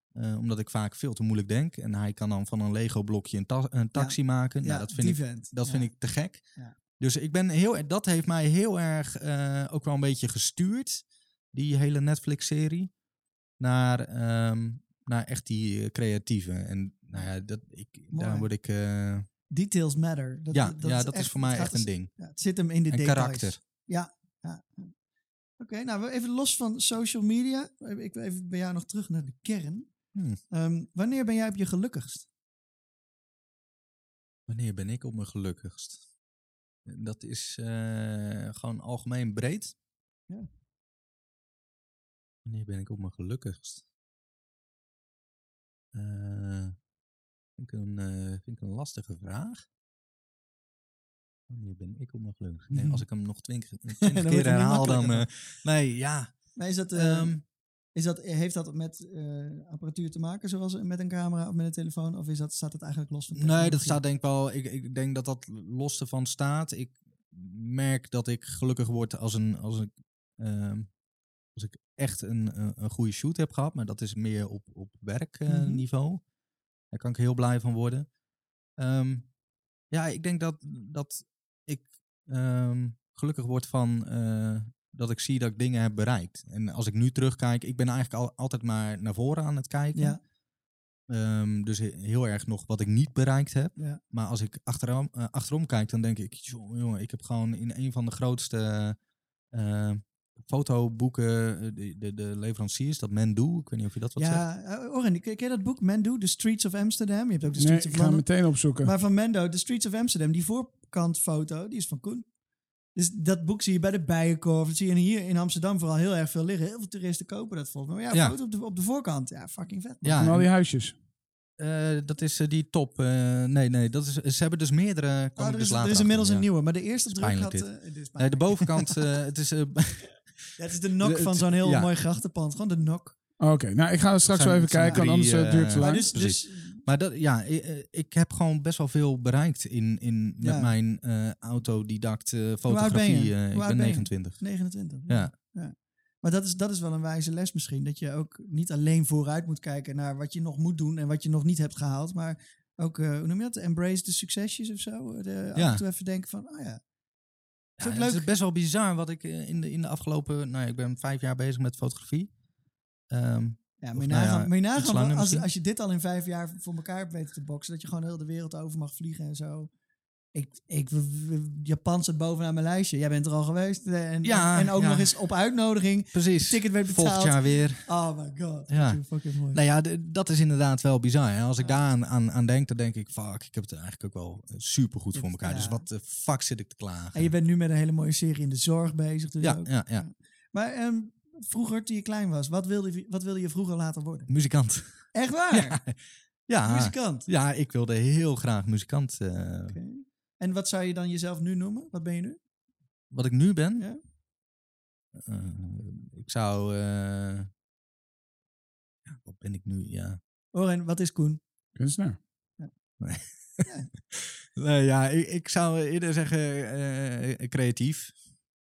Eh, omdat ik vaak veel te moeilijk denk. En hij kan dan van een Lego blokje een, ta- een taxi maken. Nou, ja, dat vind, die ik, vent. dat Ja. vind ik te gek. Ja. Dus ik ben heel, er- dat heeft mij heel erg eh, ook wel een beetje gestuurd. Die hele Netflix-serie. Naar, ehm, naar echt die eh, creatieve. En nou ja, dat, ik, Mooi. daar word ik... eh, Details matter. Dat, ja, ja, dat is echt- voor mij het gaat echt een dus- ding. Ja, het zit hem in de En details. karakter. Ja. Oké, nou even los van social media. Ik wil even bij jou nog terug naar de kern. Hmm. Ehm, wanneer ben jij op je gelukkigst? Wanneer ben ik op mijn gelukkigst? Dat is eh, gewoon algemeen breed. Ja. Wanneer ben ik op mijn gelukkigst? Eh, vind, ik een, eh, vind ik een lastige vraag. Wanneer ben ik op mijn vleugel? Nee, als ik hem nog twintig, Dan twintig wordt keer het niet herhaal, dan... makkelijker. eh, nee, ja. Maar is dat, eh, ehm, is dat, heeft dat met eh, apparatuur te maken, zoals met een camera of met een telefoon? Of is dat, staat het eigenlijk los van Nee, dat technologie? staat denk ik wel. Ik, ik denk dat dat los ervan staat. Ik merk dat ik gelukkig word als, een, als, ik, ehm, als ik echt een, eh, een, een goede shoot heb gehad. Maar dat is meer op, op Mhm. werkniveau. Daar kan ik heel blij van worden. Ehm, ja, ik denk dat, dat ik ehm, gelukkig word van eh, dat ik zie dat ik dingen heb bereikt. En als ik nu terugkijk, ik ben eigenlijk al, altijd maar naar voren aan het kijken. Ja. Ehm, dus he- heel erg nog wat ik niet bereikt heb. Ja. Maar als ik achterom, eh, achterom kijk, dan denk ik, "Tjoh, jongen, ik heb gewoon in een van de grootste eh, fotoboeken, eh, de, de, de leveranciers, dat Men Do. Ik weet niet of je dat wat zegt. Ja, eh, Oren, ken ken je dat boek Mendo, The Streets of Amsterdam? Je hebt ook The Nee, Streets ik of ga hem London. meteen opzoeken. Maar van Mendo, The Streets of Amsterdam, die voorkantfoto, die is van Koen. Dus dat boek zie je bij de Bijenkorf. Dat zie je hier in Amsterdam vooral heel erg veel liggen. Heel veel toeristen kopen dat volgens mij. Maar ja, Ja. foto op de, op de voorkant. Ja, fucking vet. Ja, van al en, die huisjes. eh, dat is eh, die top. eh, nee, nee, dat is, ze hebben dus meerdere. kwam Ah, er ik dus is, later er is inmiddels achter, een ja. nieuwe. Maar de eerste druk pijnlijk had... dit. eh, dit is Nee, pijnlijk. de bovenkant, eh, het is eh, Dat is de nok Het- van zo'n heel ja. mooi grachtenpand. Gewoon de nok. Oké, nou ik ga er straks Zijn- wel even zijn kijken, want anders drie, eh, eh, duurt het te Maar Maar lang. dus, precies. dus Maar dat, ja, i- eh, ik, heb gewoon best wel veel bereikt in, in, met Ja. mijn eh, autodidact eh, ben je? fotografie. eh, Hoe ik oud ben ben je? 29. 29. Ja. Maar dat is, dat is wel een wijze les misschien. Dat je ook niet alleen vooruit moet kijken naar wat je nog moet doen en wat je nog niet hebt gehaald. Maar ook, eh, hoe noem je dat? Embrace de succesjes of zo. De, Af Ja. en toe even denken van, ah ja. Ja, ook Het leuk. is best wel bizar wat ik eh, in de, in de afgelopen... Nou ja, ik ben vijf jaar bezig met fotografie. Ehm, ja Of moet je nou ja, nagaan, moet je iets nagaan langer als, misschien. als je dit al in vijf jaar voor elkaar hebt weten te boksen. Dat je gewoon heel de wereld over mag vliegen en zo. Ik, ik, w- w- Japan zit bovenaan mijn lijstje. Jij bent er al geweest. eh, En, Ja, en, en ook ja. nog eens op uitnodiging. precies. Ticket werd Volgend betaald. jaar weer. Oh my god. Ja. Ja. Fucking mooi. Nou ja, d- dat is inderdaad wel bizar. Hè? Als ik daar aan, aan, aan denk, dan denk ik... Fuck, ik heb het eigenlijk ook wel eh, supergoed voor Dit- elkaar. ja. Dus wat de fuck zit ik En te klagen? je bent nu met een hele mooie serie in de zorg bezig. Dus ja, ook. ja, ja. Maar ehm, vroeger, toen je klein was, wat wilde, je- wat wilde je vroeger later worden? Muzikant. Echt waar? Ja. Ja. Muzikant. Ja, ik wilde heel graag muzikant. eh, Oké. En wat zou je dan jezelf nu noemen? Wat ben je nu? Wat ik nu ben? Ja. Eh, ik zou... eh, ja, wat ben ik nu? Ja. Oren, wat is Koen? Kunstenaar. Nee, Eh, ja, ik, ik zou eerder zeggen eh, creatief.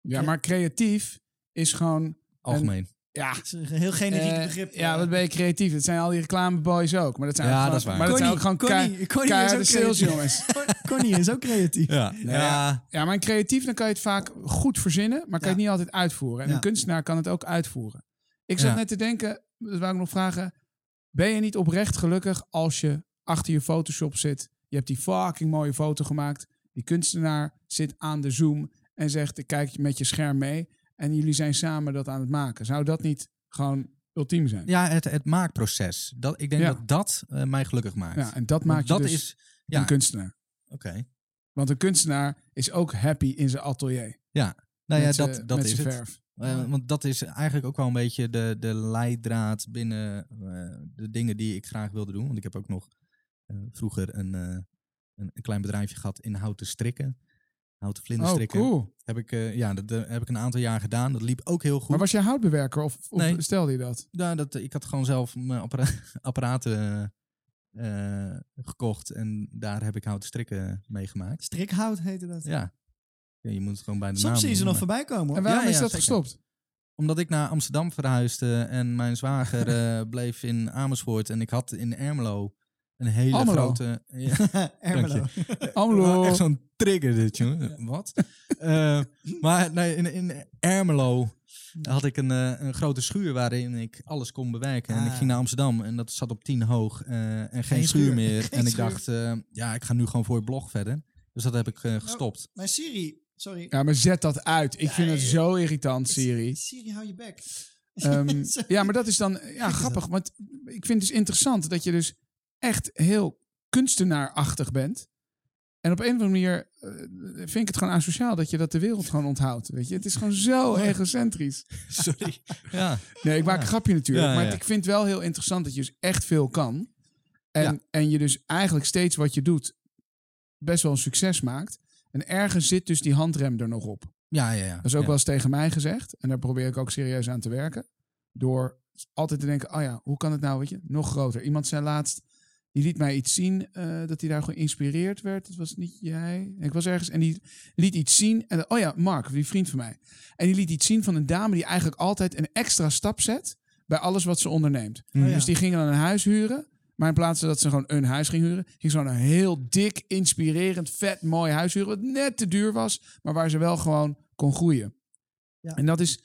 Ja, Ja. maar creatief is gewoon... Algemeen. Ja, Dat is een heel generiek eh, begrip. ja, eh. wat ben je creatief? Dat zijn al die reclameboys ook. Maar dat zijn Ja, gewoon, dat is waar. Maar dat zijn ook gewoon kei- Connie, Connie Oh, is keiharde ook sales, creatief. jongens. Connie is ook creatief. Ja. Nou ja. Ja, maar een creatief, dan kan je het vaak goed verzinnen, maar kan je het niet altijd uitvoeren. En Ja. een kunstenaar kan het ook uitvoeren. Ik zat Ja. net te denken, dat wou ik nog vragen. Ben je niet oprecht gelukkig als je achter je Photoshop zit? Je hebt die fucking mooie foto gemaakt. Die kunstenaar zit aan de Zoom en zegt, ik kijk met je scherm mee. En jullie zijn samen dat aan het maken. Zou dat niet gewoon ultiem zijn? Ja, het, het maakproces. Dat, ik denk Ja. dat dat eh, mij gelukkig maakt. Ja, en dat Want maakt dat je dus is... ja. een kunstenaar. Oké. Nou Want een kunstenaar is ook happy in zijn atelier. Nou ja, met z'n- dat, dat met is z'n het. verf. Eh, want dat is eigenlijk ook wel een beetje de, de leidraad binnen eh, de dingen die ik graag wilde doen. Want ik heb ook nog eh, vroeger een, eh, een, een klein bedrijfje gehad in houten strikken. Houten Oh, vlinderstrikken. cool. heb, ik, eh, ja, dat eh, heb ik een aantal jaar gedaan. Dat liep ook heel goed. Maar was jij houtbewerker of, of Nee. stelde je dat? Ja, dat, eh, ik had gewoon zelf mijn appara- apparaten eh, gekocht. En daar heb ik houten strikken meegemaakt. Strikhout heette dat. Ja. Ja, Je moet het gewoon bij de naam Soms zie je ze nog noemen. voorbij komen. En hoor. waarom ja, is dat zeker. gestopt? Omdat ik naar Amsterdam verhuisde en mijn zwager eh, bleef in Amersfoort. En ik had in Ermelo een hele Almelo. grote... Ja, Ermelo. Dank Oh, Amlo. Eh, echt zo'n trigger dit, jongen. Wat? Eh, maar nee, in, in Ermelo had ik een, eh, een grote schuur waarin ik alles kon bewerken. En ik Ah. ging naar Amsterdam en dat zat op 10 hoog eh, en geen, Geen schuur, schuur. meer. Geen en ik schuur. dacht, eh, ja, ik ga nu gewoon voor het blog verder. Dus dat heb ik Oh. eh, gestopt. Maar Siri, sorry. Ja, maar zet dat uit. Ik Ja, vind het eh, zo irritant, Siri. Siri, hou je bek. Ehm, Sorry. ja, maar dat is dan ja, grappig. Want ik vind het dus interessant dat je dus echt heel kunstenaarachtig bent. En op een of andere manier eh, vind ik het gewoon asociaal dat je dat de wereld gewoon onthoudt. Weet je? Het is gewoon Oh, zo egocentrisch. Sorry. ja. Nee, ik maak een grapje natuurlijk. Ja, maar ja. ik vind het wel heel interessant dat je dus echt veel kan. En, Ja. en je dus eigenlijk steeds wat je doet best wel een succes maakt. En ergens zit dus die handrem er nog op. Ja, ja, ja. Dat is ook ja. wel eens tegen mij gezegd. En daar probeer ik ook serieus aan te werken. Door altijd te denken, oh ja, hoe kan het nou, weet je, nog groter. Iemand zei laatst, die liet mij iets zien, eh, dat hij daar geïnspireerd werd. Dat was niet jij. Ik was ergens en die liet iets zien. En, oh ja, Mark, die vriend van mij. En die liet iets zien van een dame die eigenlijk altijd een extra stap zet bij alles wat ze onderneemt. Oh ja. Dus die ging dan een huis huren. Maar in plaats van dat ze gewoon een huis ging huren, ging ze gewoon een heel dik, inspirerend, vet, mooi huis huren. Wat net te duur was, maar waar ze wel gewoon kon groeien. Ja. En dat is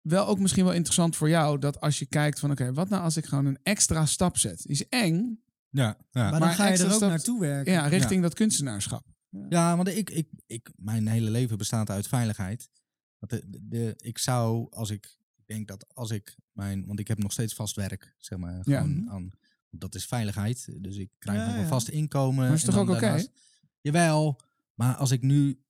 wel ook misschien wel interessant voor jou. Dat als je kijkt van, oké, wat nou als ik gewoon een extra stap zet? Is eng, Ja, Maar, ja. Maar dan ga je extra er ook stap- naartoe werken. ja, richting dat kunstenaarschap. ja, want ik, ik, ik, mijn hele leven bestaat uit veiligheid. Want de, de- de- ik zou, als ik, ik denk dat als ik mijn, want ik heb nog steeds vast werk, zeg maar, Ja. gewoon aan, dat is veiligheid. Dus ik krijg mhm. Ja, nog een ja. vast inkomen. Maar is en toch dan ook oké? daarnaast- Jawel, maar als ik nu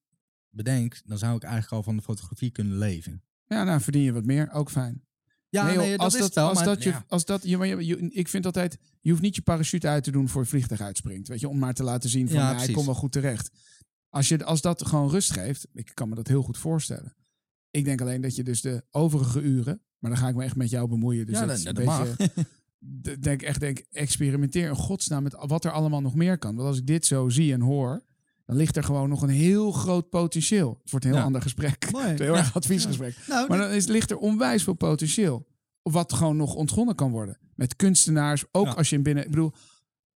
bedenk, dan zou ik eigenlijk al van de fotografie kunnen leven. Ja, nou verdien je wat meer, ook fijn. Ja, Nee, joh, als het dat, als dat je, als dat, je, maar je- je- ik vind altijd, je hoeft niet je parachute uit te doen voor het vliegtuig uitspringt. Weet je, om maar te laten zien van, Ja, ja, hij precies. komt wel goed terecht. Als, je, als dat gewoon rust geeft, ik kan me dat heel goed voorstellen. Ik denk alleen dat je dus de overige uren, maar dan ga ik me echt met jou bemoeien. Dus Ja, dat, dat- is een dat beetje, d- denk echt, denk, experimenteer in godsnaam met wat er allemaal nog meer kan. Want als ik dit zo zie en hoor, dan ligt er gewoon nog een heel groot potentieel. Het wordt een heel Ja. ander gesprek. Mooi. Het wordt Een heel erg adviesgesprek. Nou, Maar dan is, ligt er onwijs veel potentieel. Wat gewoon nog ontgonnen kan worden. Met kunstenaars, ook Ja. als je in binnen. Ik bedoel,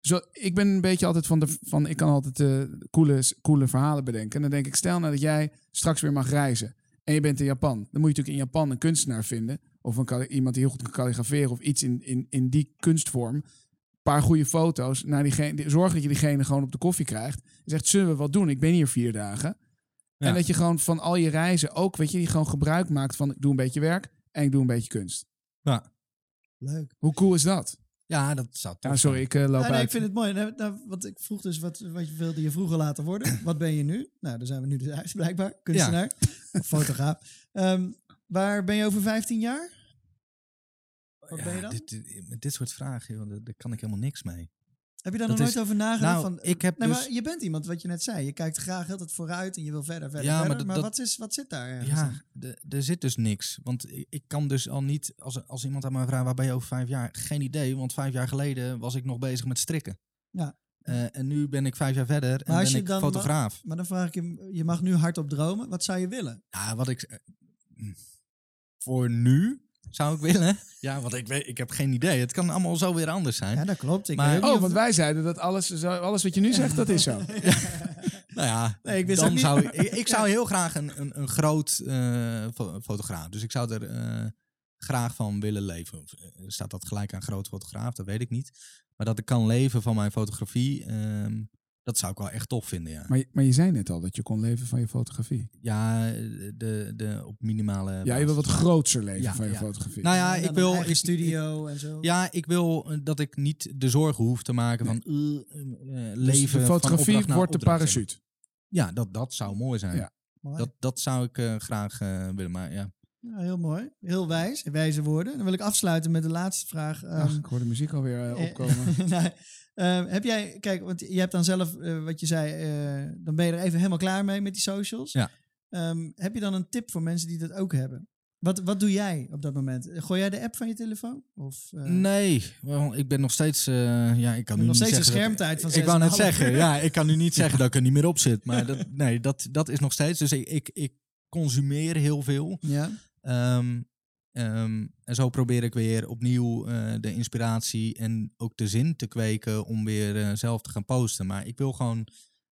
zo, ik ben een beetje altijd van de. Van, ik kan altijd eh, coole, coole verhalen bedenken. En dan denk ik, stel nou dat jij straks weer mag reizen. En je bent in Japan. Dan moet je natuurlijk in Japan een kunstenaar vinden. Of een, kalli- iemand die heel goed kan kalligraferen. Of iets in, in, in die kunstvorm. Een paar goede foto's. Naar diegene, die- zorg dat je diegene gewoon op de koffie krijgt. En zegt, zullen we wat doen? Ik ben hier vier dagen. Ja. En dat je gewoon van al je reizen ook, weet je, die gewoon gebruik maakt van ik doe een beetje werk en ik doe een beetje kunst. ja. leuk. Hoe cool is dat? ja, dat zou Ja, tof sorry, zijn. ik eh, loop Nou, nee, ik uit. vind het mooi. Nou, nou, want ik vroeg dus wat, wat je wilde je vroeger laten worden. Wat ben je nu? Nou, daar zijn we nu dus uit, blijkbaar. Kunstenaar, of fotograaf. Ehm, waar ben je over 15 jaar? Wat ben je Ja, dan? dit- dit- met dit soort vragen, joh, daar, daar kan ik helemaal niks mee. heb je daar dat nog nooit is- over nagedacht? Nou, van, ik heb nee, dus... maar je bent iemand, wat je net zei. Je kijkt graag altijd vooruit en je wil verder, verder, Ja, maar verder. Maar, dat- dat- wat, is, wat zit daar ergens in? Ja, de- er zit dus niks. Want ik, ik kan dus al niet, als, als iemand aan mij vraagt waar ben je over vijf jaar, geen idee. Want vijf jaar geleden was ik nog bezig met strikken. Ja. Eh, en nu ben ik vijf jaar verder en Maar als ben je ik dan ma- fotograaf. Maar dan vraag ik je, je mag nu hardop dromen. Wat zou je willen? Ja, wat ik... eh, mm, voor nu zou ik willen. Ja, want ik, weet, ik heb geen idee. Het kan allemaal zo weer anders zijn. Ja, dat klopt. Ik Maar- weet ook niet Oh, of- want wij zeiden dat alles, zo- alles wat je nu zegt, dat is zo. Nou ja, Nee, ik wist ook dan niet. zou ik, ik, ik zou heel graag een, een, een groot eh, fo- fotograaf. Dus ik zou er eh, graag van willen leven. Of, eh, Staat dat gelijk aan groot fotograaf? Dat weet ik niet. Maar dat ik kan leven van mijn fotografie, ehm, dat zou ik wel echt tof vinden. Ja, Maar, je- maar je zei net al dat je kon leven van je fotografie. ja de, de, op minimale. Ja, je basis. wil wat grootser leven Ja, van je ja. fotografie. Nou ja, en ik dan wil. een eigen ik- studio en zo. ja, ik wil eh, dat ik niet de zorgen hoef te maken van eh, eh, eh, Dus leven. van de fotografie opdracht naar wordt de opdracht, zeg maar. parachute. Ja, dat, dat zou mooi zijn. Ja. Mooi. Dat, dat zou ik eh, graag eh, willen. Maar ja, Ja, Nou, heel mooi. Heel wijs. Wijze woorden. Dan wil ik afsluiten met de laatste vraag. Ach, Ehm, ik hoor de muziek alweer eh, eh, opkomen. nou, ehm, heb jij, kijk, want je hebt dan zelf, eh, wat je zei, eh, dan ben je er even helemaal klaar mee met die socials. Ja. Ehm, heb je dan een tip voor mensen die dat ook hebben? Wat, wat doe jij op dat moment? Gooi jij de app van je telefoon? Of, eh, Nee, want ik ben nog steeds. eh, ja, ik kan hebt nu nog Nou, niet steeds een zeggen dat- schermtijd van Ik wou net 6,5 zeggen, ja, ik kan nu niet zeggen dat ik er niet meer op zit. Maar dat, nee, dat, dat is nog steeds. Dus ik, ik, ik consumeer heel veel. Ja. Ehm, ehm, en zo probeer ik weer opnieuw eh, de inspiratie en ook de zin te kweken om weer eh, zelf te gaan posten. Maar ik wil gewoon.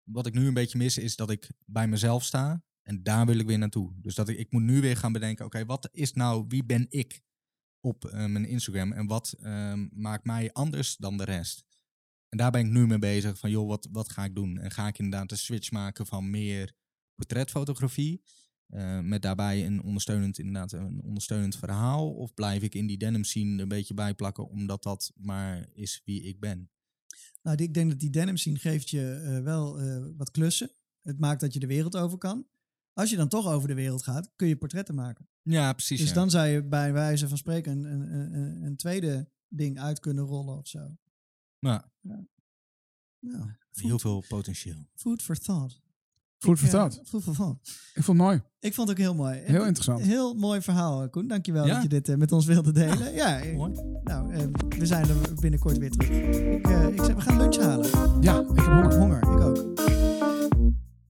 Wat ik nu een beetje mis is dat ik bij mezelf sta. En daar wil ik weer naartoe. Dus dat ik, ik moet nu weer gaan bedenken: oké, wat is nou, wie ben ik? op eh, mijn Instagram en wat ehm, maakt mij anders dan de rest. En daar ben ik nu mee bezig van, joh, wat, wat ga ik doen? En ga ik inderdaad de switch maken van meer portretfotografie, eh, met daarbij een ondersteunend, inderdaad, een ondersteunend verhaal? Of blijf ik in die denim scene een beetje bijplakken, omdat dat maar is wie ik ben? Nou, die- ik denk dat die denim scene geeft je eh, wel eh, wat klussen. Het maakt dat je de wereld over kan. Als je dan toch over de wereld gaat, kun je portretten maken. Ja, precies. Dus ja. dan zou je bij wijze van spreken een, een, een, een tweede ding uit kunnen rollen of zo. Nou, Ja, heel veel potentieel. food for thought. Food Ik, for eh, thought. Food for thought. Ik vond het mooi. Ik vond het ook heel mooi. Heel interessant. Heel mooi verhaal, eh, Koen. Dankjewel Ja. dat je dit eh, met ons wilde delen. Ja, eh, Mooi. nou, eh, we zijn er binnenkort weer terug. Ik, eh, ik zeg, we gaan lunch halen. Ja, ik heb honger. Honger, ik ook.